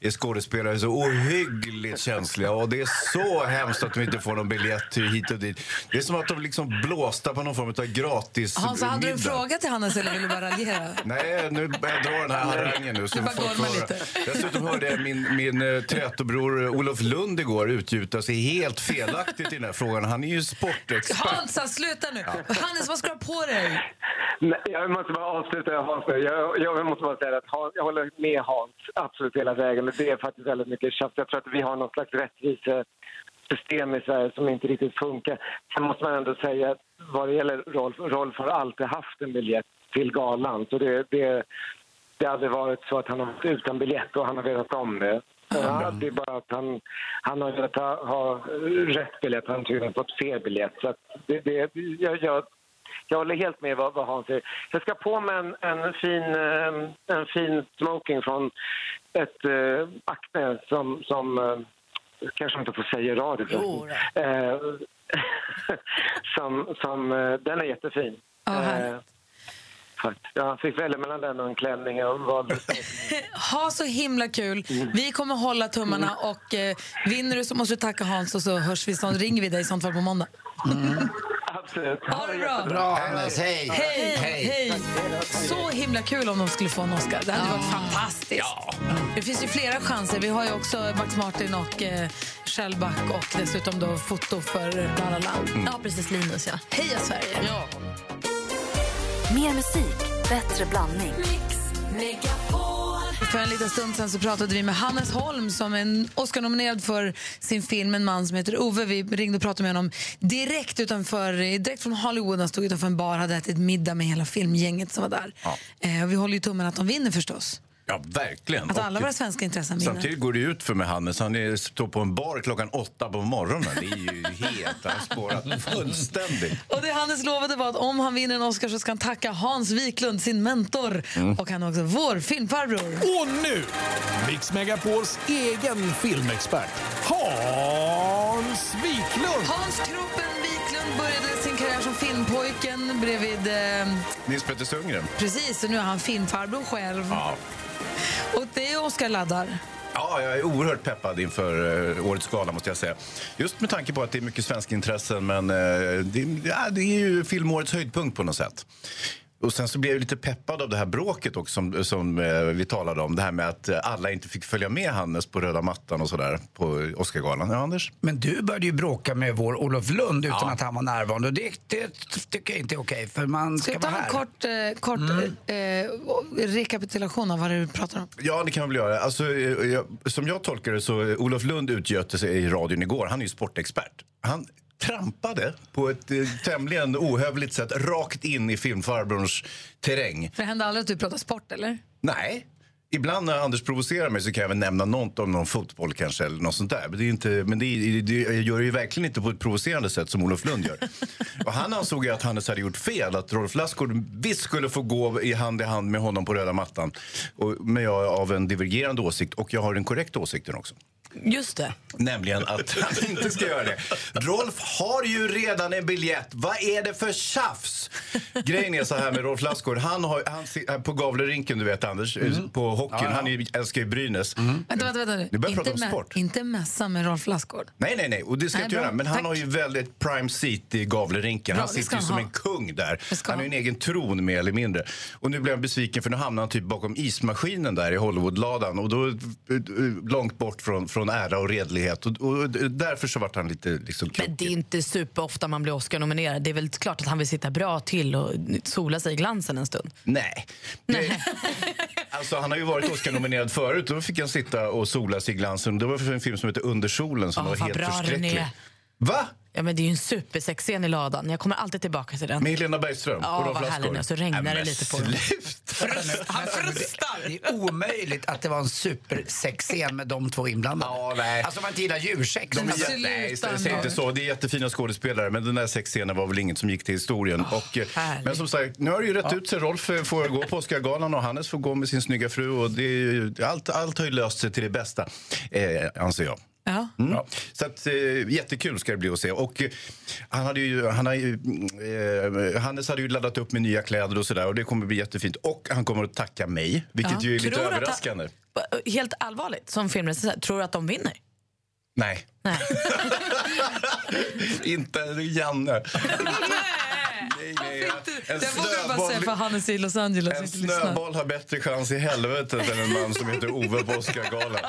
är skådespelare så ohyggligt känsliga och det är så hemskt att de inte får någon biljett till hit och dit. Det är som att de liksom blåsta på någon form av gratis Hans, hade du en middag. fråga till Hannes eller vill du bara raljera? Nej, nu börjar jag dra den här harangen nu. Så Du bara får folk gormar höra. lite. Dessutom hörde jag min, min eh, trätobror eh, Olof Lund igår utgjuta sig helt felaktigt i den här frågan. Han är ju sportexpert. Hansa, sluta nu! Hannes, vad ska du ha på dig? Nej, jag måste bara avsluta Hans nu. Jag, jag måste bara säga att Hans, jag håller med Hans absolut hela vägen. Men Det är faktiskt väldigt mycket tjafs. Jag tror att vi har något slags rättvisesystem i Sverige som inte riktigt funkar. Sen måste man ändå säga att vad det gäller Rolf, Rolf har alltid haft en biljett till galan. Så det, det, det har aldrig varit så att han har varit utan biljett och han har vetat om det. Ja, det är bara att han, han har velat ha, ha rätt biljett, han har tydligen fått fel biljett. Så att det, det, jag, jag jag håller helt med vad, vad han säger. Jag ska på mig en, en, fin, eh, en fin smoking från ett eh, Acne som, som eh, kanske man inte får säga i radio. Jo Eh, [laughs] som, som, eh, den är jättefin. eh, faktiskt. jag fick välja mellan den och en klänning. Jag valde Ha så himla kul. Mm. Vi kommer hålla tummarna och eh, vinner du så måste du tacka Hans och så hörs vi, så ringer vi dig i sånt fall på måndag. Mm. absolut. Ha det bra! Bra, Hannes. Hej! [laughs] Hej, hej! Så himla kul om de skulle få en Oscar. Det hade varit fantastiskt. Det finns ju flera chanser. Vi har ju också Max Martin och eh, Shellback och dessutom då foto för La La Land. Ja, precis. Linus, ja. Heja Sverige! Ja. Mer musik, bättre blandning. För en liten stund sen så pratade vi med Hannes Holm som är en Oscar-nominerad för sin film En man som heter Ove. Vi ringde och pratade med honom direkt, utanför, direkt från Hollywood. Han stod utanför en bar hade ätit middag med hela filmgänget som var där. Ja. Eh, och vi håller ju tummen att de vinner förstås. Ja, verkligen. Att alla Och våra svenska intressen vinner. Samtidigt går det ju ut för med Hannes. Han är, står på en bar klockan åtta på morgonen. Det är ju helt... Han har spårat fullständigt. Och det Hannes lovade var att om han vinner en Oscar så ska han tacka Hans Wiklund, sin mentor. Och han är också vår filmfarbror. Och nu, Mix Megapols egen filmexpert, Hans Wiklund! Hans Kroppen Wiklund började sin karriär som filmpojken bredvid... Eh, Nils Petter Sundgren. precis, och nu är han filmfarbror själv. Ja. Och det är Oscar laddar. Ja, jag är oerhört peppad inför eh, årets gala måste jag säga. Just med tanke på att det är mycket svenska intressen men eh, det, ja, det är ju filmårets höjdpunkt på något sätt. Och sen så blev jag ju lite peppad av det här bråket också som, som eh, vi talade om. Det här med att eh, alla inte fick följa med Hannes på röda mattan och sådär på Oscargalan. Ja, Anders? Men du började ju bråka med vår Olof Lund utan att han var närvarande. Och det, det tycker jag inte är okej, för man Ska ska vi ta vara en här. kort, eh, kort Mm. eh, rekapitulation av vad du pratar om? Ja, det kan vi väl göra. Alltså, eh, jag, som jag tolkar det så eh, Olof Lund utgöt sig i radion igår. Han är ju sportexpert. Han trampade på ett eh, tämligen ohövligt sätt rakt in i filmfarbrorns terräng. För det hände aldrig att du pratar sport, eller? Nej. Ibland när Anders provocerar mig så kan jag väl nämna något om någon fotboll kanske eller något sånt där. Men, det, är inte, men det, är- det, jag gör det ju verkligen inte på ett provocerande sätt som Olof Lund gör. Och han ansåg ju att Hannes hade gjort fel, att Rolf Lassgård visst skulle få gå i hand i hand med honom på röda mattan. Och, men jag är av en divergerande åsikt och jag har den korrekta åsikten också. Just det. Nämligen att [laughs] han inte ska göra det. Rolf har ju redan en biljett. Vad är det för tjafs? Grejen är så här med Rolf Lassgård. Han har, han, si- eh, på Gavlerinken, du vet Anders, på hockeyn. Mm. Ja, Mm. ja. Han är, ju- älskar ju Brynäs. Vänta, vänta, vänta. nu. Du börjar prata om mä- sport. inte mässa med Rolf Lassgård. Nej, nej, nej. Och det ska Nej, jag inte bra. göra. Men han Tack. har ju väldigt prime seat i Gavlerinken. Bra, han det sitter ska ju han som ha. en kung där. Han har ju en egen tron mer eller mindre. Och nu blir han besviken för nu hamnar han typ bakom ismaskinen där i Hollywoodladan. Och då eh, eh, långt bort från, från ära och redlighet. Och, och därför så vart han lite liksom Men det är inte superofta man blir Oscar-nominerad. Det är väl klart att han vill sitta bra till och sola sig i glansen en stund. Nej. Det, alltså, han har ju varit Oscar-nominerad förut. Då fick han sitta och sola sig i glansen. Det var för en film som heter Under solen som Åh, var vad helt bra den förskräcklig. är. Va? Ja, men det är ju en supersexscen i ladan. Jag kommer alltid tillbaka till den. Med Helena Bergström Ja, och Rolf vad Lassgård. härlig den är. Så regnar det men lite [laughs] på den. Han frustar! Alltså, Det är omöjligt att det var en supersexscen med de två inblandade. Alltså om man inte gillar djursex. Alltså, De är jätte- nej, säg- säg inte så. Det är jättefina skådespelare, men den där sexscenen var väl inget som gick till historien. och, eh, men som sagt, nu har det ju rätt ut sig. Rolf eh, får gå på Oscarsgalan och Hannes får gå med sin snygga fru. Och det är ju, allt, allt har ju löst sig till det bästa, eh, anser jag. Ja. Mm. Så att, eh, jättekul ska det bli att se. Och, eh, han hade ju, han har ju, eh, Hannes hade ju laddat upp med nya kläder och sådär och det kommer bli jättefint. Och han kommer att tacka mig, vilket Ja. ju är lite Tror att han- överraskande. Helt allvarligt, som filmrecensent, tror du att de vinner? Nej. [laughs] Inte Janne. En Det får du bara snöboll- säga för Hannes i Los Angeles. En inte lyssnar. snöboll har bättre chans i helvetet än en man som heter Ove på Oscarsgalan.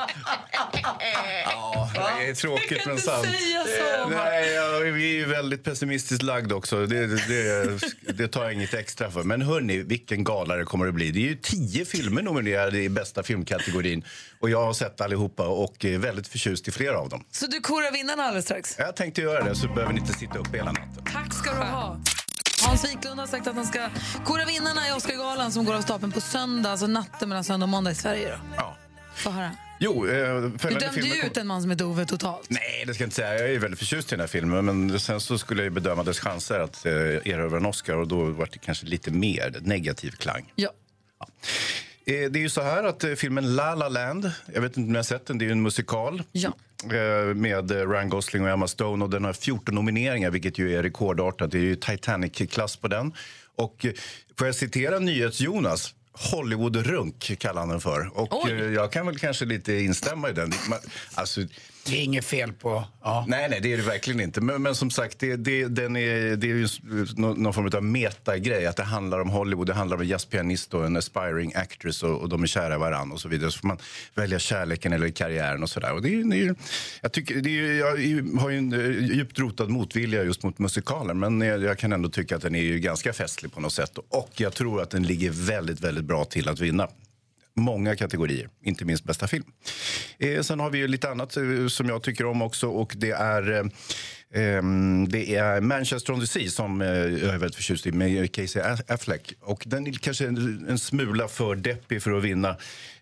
Ja, det är tråkigt men sant. säga så, va? Nej, ja, vi är ju väldigt pessimistiskt lagd också. Det, det, det, det tar jag inget extra för. Men hörni, vilken gala det kommer att bli. Det är ju tio filmer nominerade i bästa filmkategorin. Och jag har sett allihopa och är väldigt förtjust i flera av dem. Så du korar vinnarna alldeles strax? Jag tänkte göra det så behöver ni inte sitta upp hela natten. Tack ska du ha. Hans Wiklund har sagt att han ska kora vinnarna i Oscarsgalan som går av stapeln på söndag, alltså natten mellan söndag och måndag i Sverige. Då. Ja. Få höra. Jo, eh, följande Du dömde filmer ju kom- ut en man som är dove totalt. Nej, det ska jag inte säga. Jag är väldigt förtjust i den här filmen. Men sen så skulle jag ju bedöma dess chanser att eh, erövra en Oscar och då var det kanske lite mer negativ klang. Ja. Eh, det är ju så här att eh, filmen La La Land, jag vet inte om ni har sett den, det är ju en musikal. Eh, Med eh, Ryan Gosling och Emma Stone och den har 14 nomineringar vilket ju är rekordartat. Det är ju Titanic-klass på den. Och eh, får jag citera NyhetsJonas? Hollywood-runk kallar han den för. Och eh, jag kan väl kanske lite instämma i den. Man, alltså, det är inget fel på... Nej, nej, det är det verkligen inte. Men, men som sagt, det, det, den är, det är ju s- nå- någon form av metagrej. Att det handlar om Hollywood, det handlar om en jazzpianist och en aspiring actress och, och de är kära i varann och så vidare. Så får man välja kärleken eller karriären och sådär. Och det är, ju- det är, ju- jag, tycker, det är, ju- jag är ju- har ju en eh, djupt rotad motvilja just mot musikaler. Men jag, jag kan ändå tycka att den är ju ganska festlig på något sätt. Och jag tror att den ligger väldigt, väldigt bra till att vinna många kategorier, inte minst bästa film. Eh, sen har vi ju lite annat eh, som jag tycker om också och det är eh, ehm, det är Manchester on the Sea som eh, jag är väldigt förtjust i med Casey A- Affleck. Och den är kanske en, en smula för deppig för att vinna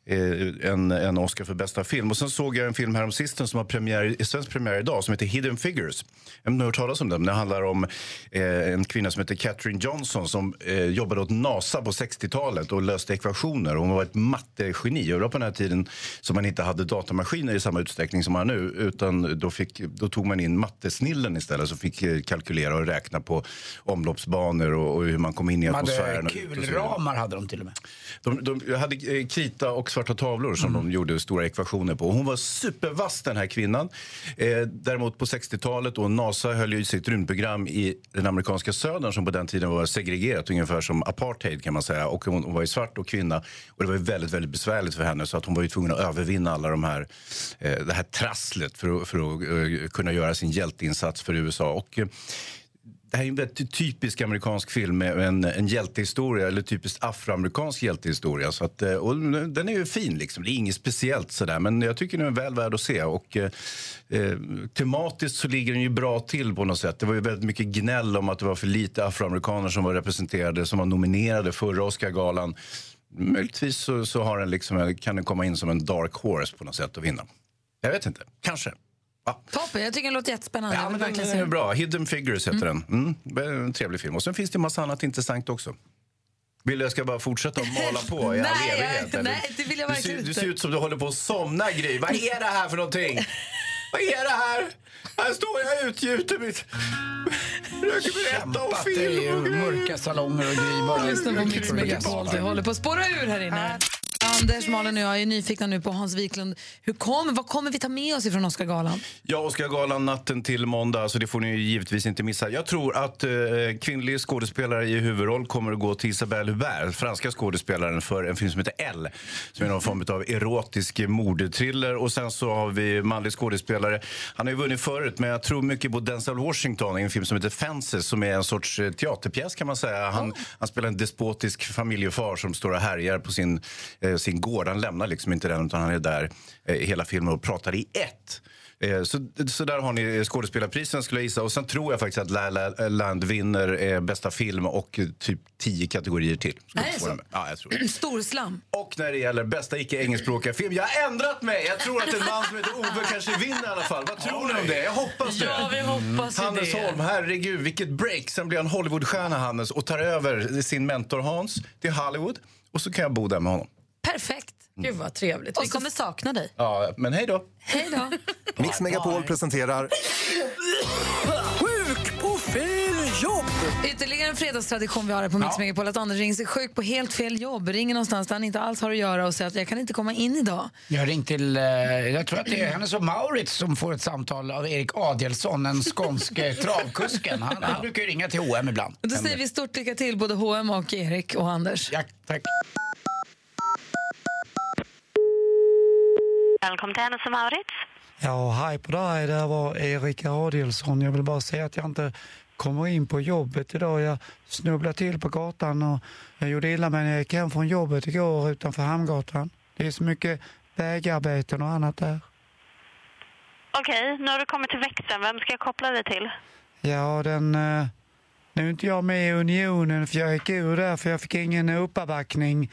eh, en, en Oscar för bästa film. Och sen såg jag en film häromsistens som har premiär, svensk premiär idag som heter Hidden Figures. Jag har inte hört talas om den. men Den handlar om eh, en kvinna som heter Katherine Johnson som eh, jobbade åt NASA på 60-talet och löste ekvationer. Hon var ett mattegeni. Och det var på den här tiden som man inte hade datamaskiner i samma utsträckning som man har nu. Utan då, fick, då tog man in mattesnillen istället som fick eh, kalkylera och räkna på omloppsbanor och, och hur man kom in i De atmosfären. hade och ut och så vidare. kulramar hade de till och med. De, de jag hade eh, krita och svarta tavlor som de gjorde stora ekvationer på. Hon var supervass den här kvinnan. Eh, däremot på 60-talet och NASA höll ju sitt rymdprogram i den amerikanska södern som på den tiden var segregerat, ungefär som apartheid kan man säga. Och hon, hon var ju svart och kvinna och det var ju väldigt, väldigt besvärligt för henne så att hon var ju tvungen att övervinna alla de här, eh, det här trasslet för, att- för att eh, kunna göra sin hjälteinsats för USA. Och, eh, det här är en väldigt typisk amerikansk film med en, en hjältehistoria, eller typiskt afroamerikansk hjältehistoria. Så att, eh, och den är ju fin, liksom. det är inget speciellt sådär, men jag tycker den är väl värd att se. Och, eh, eh, tematiskt så ligger den ju bra till på något sätt. Det var ju väldigt mycket gnäll om att det var för lite afroamerikaner som var representerade, som var nominerade förra Oscargalan. möjligtvis så, så har den liksom, kan den komma in som en dark horse på något sätt och vinna. Jag vet inte, kanske. Toppen, jag tycker den låter jättespännande. Ja, Jag vill men verkligen den se är den. bra. Hidden Figures heter den. Mm, en trevlig film. Och sen finns det en massa annat intressant också. Vill du jag ska bara fortsätta att mala på i all [laughs] Nej, jag- evighet? eller? nej, det vill jag Du verkligen ser- Du inte. ser ut som du håller på att somna, Gry. Vad är det här för någonting? Vad är det här? Här står jag utgjuter mitt... Försöker berätta om Det är ju film och grejer. mörka salonger och grivar. Lyssna på Mix Megapol. Det håller på att spåra ur här inne. Anders, Malin och jag är nyfikna nu på Hans Wiklund. Hur kom, vad kommer vi ta med oss [clears throat] ifrån Oscargalan? Ja, Oscargalan natten till måndag, så det får ni ju givetvis inte missa. Jag tror att eh, kvinnlig skådespelare i huvudroll kommer att gå till Isabelle Hubert, franska skådespelaren, för en film som heter L, som är någon form av erotisk mordthriller. Och sen så har vi manlig skådespelare. Han har ju vunnit förut, men jag tror mycket på Denzel Washington i en film som heter Fences, som är en sorts eh, teaterpjäs kan man säga. Han, han spelar en despotisk familjefar som står och härjar på sin, eh, sin gård. Han lämnar liksom inte den, utan han är där eh, hela filmen och pratar i ett. Eh, Så, så där har ni skådespelarprisen skulle jag gissa. Och sen tror jag faktiskt att La La Land vinner eh, bästa film och eh, typ tio kategorier till. Skulle Nej, jag få så- den med. Ja, jag tror det. Storslam. Och när det gäller bästa icke-engelskspråkiga film, jag har ändrat mig! Jag tror att en man som heter Ove kanske vinner i alla fall. Vad tror ni om det? Jag hoppas det. Ja, vi hoppas ju Hannes det. Holm, herregud vilket break. Sen blir han Hollywoodstjärna, Hannes, och tar över sin mentor Hans till Hollywood. Och så kan jag bo där med honom. Perfekt. Mm. Gud vad trevligt. Vi kommer sakna dig. Ja, men hej då! Hej då. Mix Megapol presenterar Sjuk på fel jobb! Ytterligare en fredagstradition vi har här på Mix Megapol att Anders ringer sig sjuk på helt fel jobb, ringer någonstans där han inte alls har att göra och säger att jag kan inte komma in idag. Jag har ringt till, eh, jag tror att det är Hennes och Maurits som får ett samtal av Erik Adelsson, den skånske travkusken. Han, han brukar ju ringa till OM ibland. Och då säger vi stort lycka till både H&M och Erik och Anders. Ja, tack. Välkommen till Hennes och Mauritz. Ja, hej på dig. Det här var Erik Adielsson. Jag vill bara säga att jag inte kommer in på jobbet idag. Jag snubblade till på gatan och jag gjorde illa mig när jag gick hem från jobbet igår utanför Hamngatan. Det är så mycket vägarbeten och annat där. Okej, nu har du kommit till växeln. Vem ska jag koppla dig till? Ja, den... eh, Nu är inte jag med i Unionen för jag gick ur där för jag fick ingen uppbackning.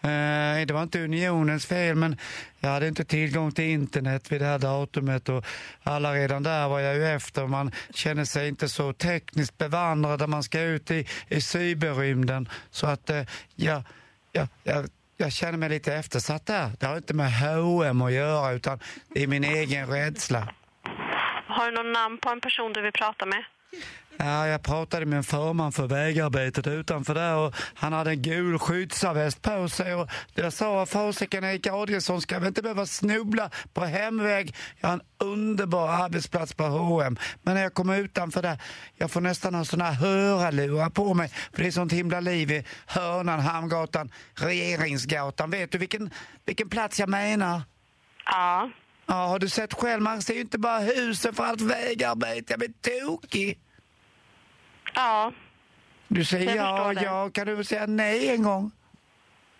Eh, Det var inte Unionens fel men jag hade inte tillgång till internet vid det här datumet och alla redan där var jag ju efter. Man känner sig inte så tekniskt bevandrad när man ska ut i, i cyberrymden. Så att eh, jag, jag, jag, jag känner mig lite eftersatt där. Det har inte med H&M att göra utan det är min egen rädsla. Har du någon namn på en person du vill prata med? Ja, jag pratade med en förman för vägarbetet utanför där och han hade en gul skyddsväst på sig och jag sa vad fasiken Erik Adielsson ska väl inte behöva snubbla på hemväg. Jag har en underbar arbetsplats på H&M. Men när jag kommer utanför där, jag får nästan ha såna här hörlurar på mig för det är sånt himla liv i hörnan, Hamngatan, Regeringsgatan. Vet du vilken, vilken plats jag menar? Ja. Ja, har du sett själv? Man ser ju inte bara husen för allt vägarbete. Jag blir tokig. Ja. Du Jag säger ja, förstår det. ja. Kan du säga nej en gång?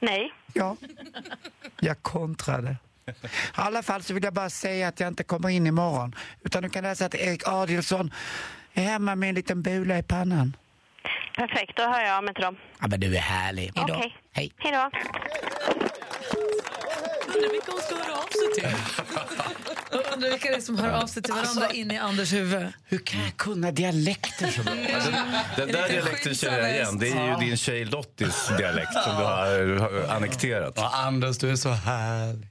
Nej. Ja. Jag kontrade. I alla fall så vill jag bara säga att jag inte kommer in imorgon. Utan du kan läsa att Erik Adielsson är hemma med en liten bula i pannan. Perfekt, då hör jag av mig till dem. Ja, men du är härlig. Okej. Hej. Hej då. Undrar vilka hon ska höra av sig till. Undrar vilka det är som hör av sig till varandra Alltså- in i Anders huvud. Hur kan jag kunna dialekter så bra? Den där dialekten känner jag igen. Det är ju din tjej Lottis dialekt som du har, har annekterat. Anders, du är så härlig.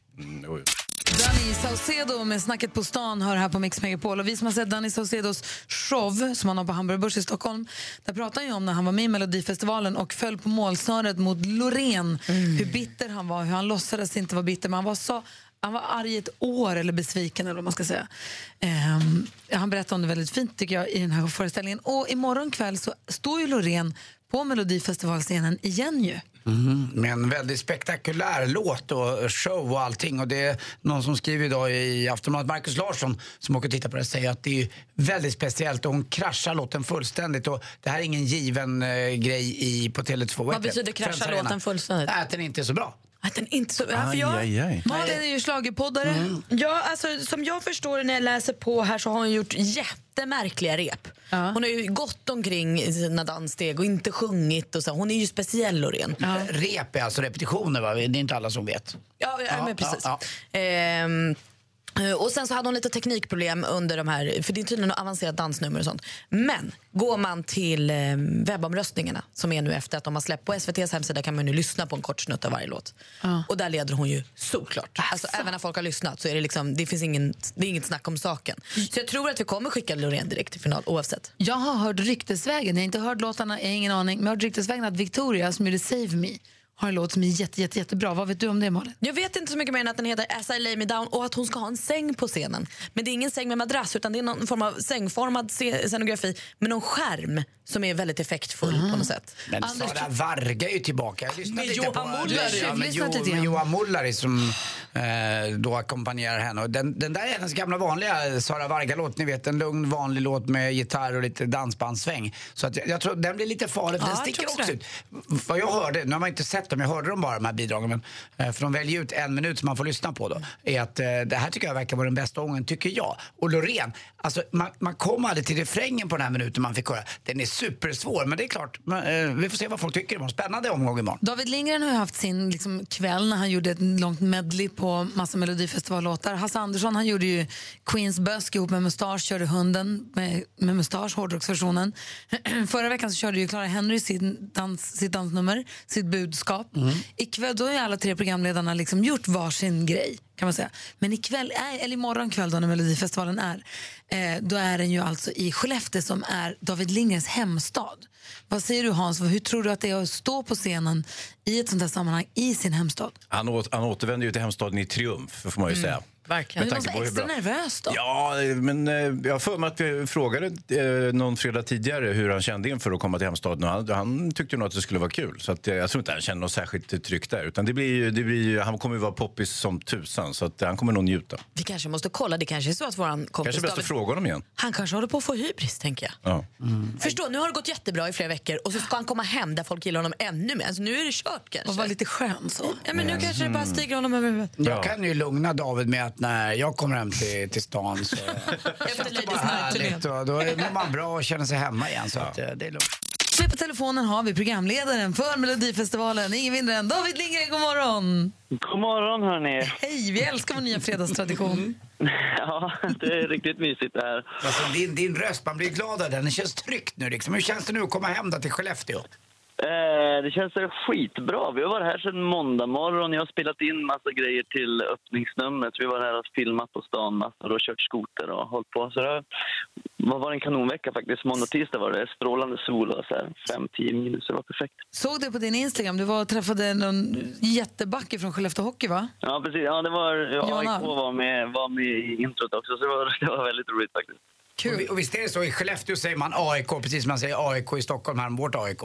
Danny Saucedo med Snacket på stan hör här på Mix Megapol. Och vi som har sett Danny Saucedos show som han har på Hamburg Börs i Stockholm, där pratar han ju om när han var med i Melodifestivalen och föll på målsnöret mot Loreen. Hur bitter han var, hur han låtsades inte vara bitter, men han var så han var arg i ett år, eller besviken eller vad man ska säga. Ehm, han berättade om det väldigt fint tycker jag i den här föreställningen. Och imorgon kväll så står ju Loreen på Melodifestivalscenen igen ju. Mm, med en väldigt spektakulär låt och show och allting. Och det är någon som skriver idag i Aftonbladet, Markus Larsson, som åker och tittar på det, säger att det är ju väldigt speciellt och hon kraschar låten fullständigt. Och det här är ingen given eh, grej i, på Tele2. Vad betyder krascha låten fullständigt? Att den inte är så bra. Att den inte så... Ja, för Aj, jag, aj, aj. Malin är ju schlagerpoddare. Mm. Ja, alltså, som jag förstår det när jag läser på här så har hon gjort jättemärkliga rep. Hon har ju gått omkring i sina danssteg och inte sjungit. Och så. Hon är ju speciell, Loreen. Rep är alltså repetitioner, va? det är inte alla som vet. Ja, ja, Ja, men precis. ja, Ehm, och sen så hade hon lite teknikproblem under de här, för det är tydligen något avancerat dansnummer och sånt. Men går man till eh, webbomröstningarna som är nu efter att de har släppt, på SVTs hemsida kan man nu lyssna på en kort snutt av varje låt. Och där leder hon ju såklart. Alltså, även när folk har lyssnat så är det liksom, det finns ingen, det är inget snack om saken. Så jag tror att vi kommer skicka Loreen direkt till final oavsett. Jag har hört ryktesvägen, jag har inte hört låtarna, jag har ingen aning, men jag har hört ryktesvägen att Victoria som gjorde Save Me har en låt som är jätte, jätte, jättebra. Vad vet du om det Malin? Jag vet inte så mycket mer än att den heter As I lay me down och att hon ska ha en säng på scenen. Men det är ingen säng med madrass utan det är någon form av sängformad se- scenografi med någon skärm som är väldigt effektfull på något sätt. Ah. Alltså, Men Anders- Sara Varga är ju tillbaka. Jag lyssnade Med lite Johan på... Mullary. Ja, med, Lyssna jo, lite grann. med Johan Mullary som eh, då ackompanjerar henne. Och den, den där är hennes gamla vanliga Sara Varga-låt. Ni vet, en lugn vanlig låt med gitarr och lite dansbandssväng. Så att jag, jag tror den blir lite farlig, för Ja, den jag sticker tror också också det. ut. Vad jag hörde, nu har man inte sett dem, jag hörde dem bara de här bidragen. Men, eh, för de väljer ut en minut som man får lyssna på då. Är att eh, det här tycker jag verkar vara den bästa gången, tycker jag. Och Loreen, alltså man, man kom aldrig till refrängen på den här minuten man fick höra. Den är supersvår, men det är klart, men, eh, vi får se vad folk tycker imorgon. Spännande omgång imorgon. David Lindgren har ju haft sin liksom, kväll när han gjorde ett långt medley på massa melodifestivallåtar. Hasse Andersson han gjorde ju Queens Busk ihop med Mustasch, körde hunden med, med Mustasch, hårdrocksversionen. [clears throat] Förra veckan så körde ju Clara Henry sin dans, sitt dansnummer, sitt budskap. Mm. Ikväll då har ju alla tre programledarna liksom gjort varsin grej. Kan man säga. Men ikväll, äh, eller imorgon kväll då när Melodifestivalen är, eh, då är den ju alltså i Skellefteå som är David Lindgrens hemstad. Vad säger du Hans, hur tror du att det är att stå på scenen i ett sånt här sammanhang i sin hemstad? Han, å- han återvänder ju till hemstaden i triumf, får man ju Mm, säga. verkligen. Med Men du tanke måste på hur extra bra- nervös då? Ja, men eh, jag har för mig att vi frågade eh, någon fredag tidigare hur han kände inför att komma till hemstaden. Och han, han tyckte nog att det skulle vara kul. Så att, eh, jag tror inte han känner något särskilt tryck där. Utan det blir ju, det blir ju, han kommer ju vara poppis som tusan, så att, eh, han kommer nog njuta. Vi kanske måste kolla, det kanske är så att våran kompis Kanske bäst att David, fråga honom igen. han kanske håller på att få hybris tänker jag. Ja. Mm. Förstå, nu har det gått jättebra i flera veckor och så ska han komma hem där folk gillar honom ännu mer. Alltså, nu är det kört kanske. Och vara lite skön så. Ja, men nu Mm. kanske det bara stiger honom över huvudet. Jag kan ju lugna David med att när jag kommer hem till, till stan så Efter bara härligt och då är- mår man bra och känner sig hemma igen. Så att, eh, det är lugnt. Med på telefonen har vi programledaren för Melodifestivalen, ingen mindre än David Lindgren, god morgon! God morgon, hörni. Hej, vi älskar vår nya fredagstradition. [laughs] Ja, det är riktigt mysigt det här. Alltså, din, din röst, man blir glad av den. Den känns tryggt nu liksom. Hur känns det nu att komma hem där till Skellefteå? Eh, det känns skitbra. Vi har varit här sedan måndag morgon. Jag har spelat in massa grejer till öppningsnumret. Vi var här och filmat på stan massor och kört skoter och hållit på. Så det har- det var en kanonvecka faktiskt. Måndag och tisdag var det strålande sol och så här 5-10 minus. Det var perfekt. Såg det på din Instagram, du var och träffade någon jättebacke från Skellefteå Hockey va? Ja, precis. Ja, det var, ja, Jonas. AIK var med, var med i introt också, så det var, [laughs] det var väldigt roligt faktiskt. Och, vi- och visst är det så, i Skellefteå säger man AIK precis som man säger AIK i Stockholm, här om vårt AIK.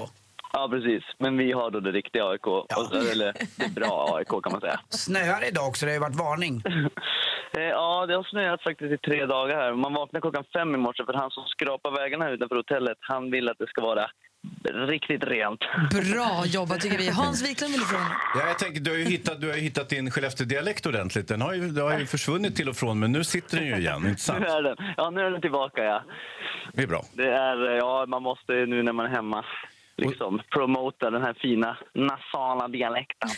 Ja, precis. Men vi har då det riktiga AIK, och så, eller det bra AIK kan man säga. Snöar det idag också, det har ju varit [laughs] varning. Eh, Ja, det har snöat faktiskt i tre dagar här. Man vaknade klockan fem i morse för han som skrapar vägarna här utanför hotellet, han vill att det ska vara riktigt rent. Bra jobbat tycker vi. Hans Wiklund vill ifrån. Ja, jag tänker, du har ju hittat, du har ju hittat din Skellefteå-dialekt ordentligt. Den har ju, den har ju försvunnit till och från, men nu sitter den ju igen. Inte sant? Nu är den, ja, nu är den tillbaka, ja. Det är bra. Det är, eh, ja, man måste ju nu när man är hemma liksom promota den här fina nasala dialekten.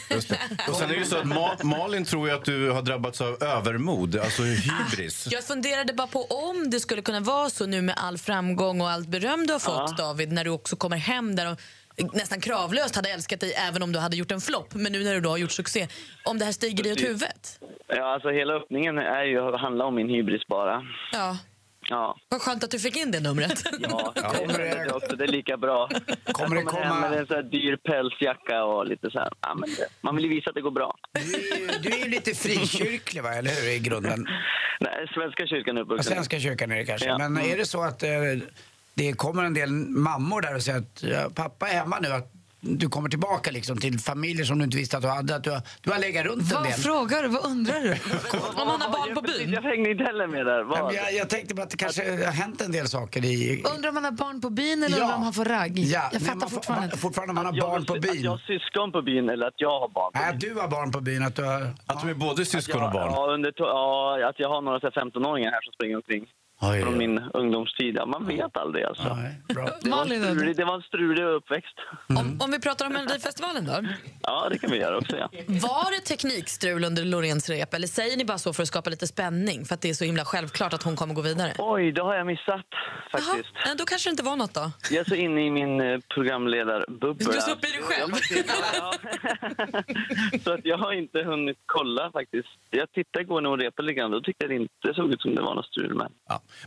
Och sen är det ju så att Ma- Malin tror ju att du har drabbats av övermod, alltså hybris. Jag funderade bara på om det skulle kunna vara så nu med all framgång och allt beröm du har fått, David, när du också kommer hem där de nästan kravlöst hade älskat dig även om du hade gjort en flopp. Men nu när du då har gjort succé, om det här stiger i åt Precis. huvudet. Ja, alltså hela öppningen är ju, handlar om min hybris bara. Ja. Ja. Vad skönt att du fick in det numret. [laughs] Ja, det, det, också, det är lika bra. Kommer det hem komma- med en så här dyr pälsjacka och lite så här. Ja, men det, man vill ju visa att det går bra. Du är ju lite frikyrklig va, eller hur, i grunden? [laughs] Nej, Svenska kyrkan är Ja, uppvuxen. Svenska kyrkan är det kanske. Ja. Mm. Men är det så att eh, det kommer en del mammor där och säger att ja, pappa är hemma nu, att du kommer tillbaka liksom till familjer som du inte visste att du hade. Att du, har- du har legat runt en Vad del. frågar du? Vad undrar [laughs] du? [laughs] Om han har barn på byn? Jag hängde inte heller med där. Ja, men Jag, jag tänkte bara att det kanske har hänt en del saker i... Undrar om han har barn på byn eller Ja. undrar om han får ragg? Ja, jag nej, fattar man får- fortfarande man- inte. Fortfarande man har barn på Att byn. jag har syskon på byn eller att jag har barn på Nej, att du har barn på byn. Att du har... Att de är både syskon och barn. Ja, under to- ja, att jag har några så här 15-åringar här som springer omkring. Från min ungdomstid. Ja, man vet aldrig alltså. Det, var en Malin, då? strulig, det var en strulig uppväxt. Mm. Om vi pratar om Melodifestivalen då. Ja, det kan vi göra också. Ja. Var det teknikstrul under Loreens rep eller säger ni bara så för att skapa lite spänning för att det är så himla självklart att hon kommer gå vidare? Oj, det har jag missat faktiskt. Nej, då kanske det inte var något då. Jag är så inne i min eh, programledarbubbla. Du är så uppe i dig själv. [laughs] Så att jag har inte hunnit kolla faktiskt. Jag tittade igår när hon repade lite grann. Då tyckte jag det inte såg ut som det var något strul. Men,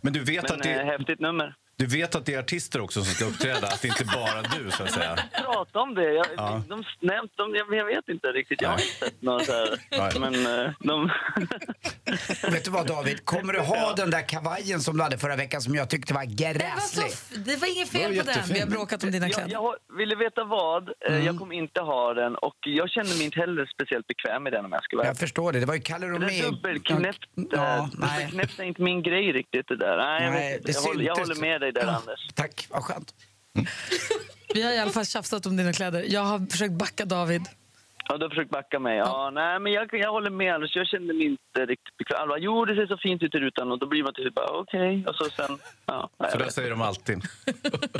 Men du vet, men att det, eh, häftigt nummer. du vet att det är artister också som ska uppträda, att det inte bara du så att säga. Prata om det. Jag, Ja. de, nämnt, de, jag, jag vet inte riktigt. Jag har inte sett några så här. Men eh, de... Vet du vad David, kommer du ha den där kavajen som du hade förra veckan som jag tyckte var gräslig? Det var inget Det var fel på den. jättefint. Vi har bråkat om dina kläder. Jag, jag har- ville veta vad. Eh, Mm. Jag kommer inte ha den. Och jag kände mig inte heller speciellt bekväm med den om jag ska vara Jag förstår det, det var ju Kalle Det där eh, Romeo. dubbelknäppt, Ja, ja, nej. dubbelknäppt är inte min grej riktigt det där. Nej, jag, Nej, vet inte. det jag, håller, jag syntes. håller med dig där Ja, Anders. Tack, vad skönt. Vi har i alla fall tjafsat om dina kläder. Jag har försökt backa David. Ja, du har försökt backa mig. Ja, Nej, men jag, jag håller med Anders. Jag kände mig inte riktigt bekväm. Alla bara, Jo, det ser så fint ut i rutan och då blir man till slut bara okej. Och så sen, ja. nej, Så där jag vet. säger de alltid.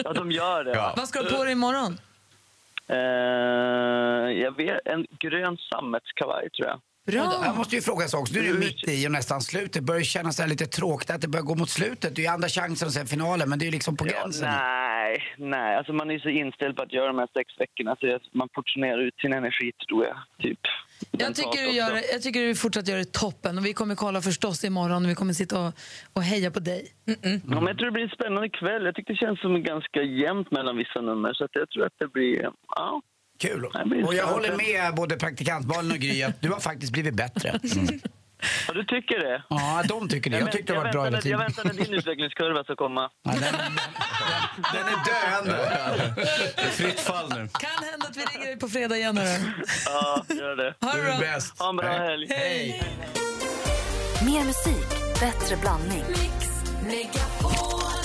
ja de gör det. Ja. Vad ska du på dig imorgon? Eh, jag vet, en grön sammetskavaj tror jag. Bra. Jag måste ju fråga en sak också. Nu är det mitt i och nästan slutet. Det börjar ju kännas så här lite tråkigt att det börjar gå mot slutet. Det är ju andra chansen och sen finalen, men det är ju liksom på gränsen. Nej, nej. Alltså man är ju så inställd på att göra de här sex veckorna så jag- man portionerar ut sin energi tror jag. Typ. Jag tycker, du gör, jag tycker du fortsatt gör det toppen. Och vi kommer kolla förstås imorgon och vi kommer sitta och, och heja på dig. Mm. Ja, men jag tror det blir en spännande kväll. Jag tycker det känns som ganska jämnt mellan vissa nummer. Så att jag tror att det blir... Ja. Kul. Det blir Och jag spännande. håller med både praktikantbarnen och Gry att du har faktiskt blivit bättre. Mm. Ja, du tycker det? Ja, de tycker det. Jag vänt- tyckte det var bra väntade- hela tiden. Jag väntade din utvecklingskurva ska komma. Den är döende. Det är fritt fall nu. Kan hända att vi ringer dig på fredag igen. hörru. Ja, gör det. Ha det Du är bra. bäst. Ha en bra Hej. helg. Hej. Mer musik, bättre blandning.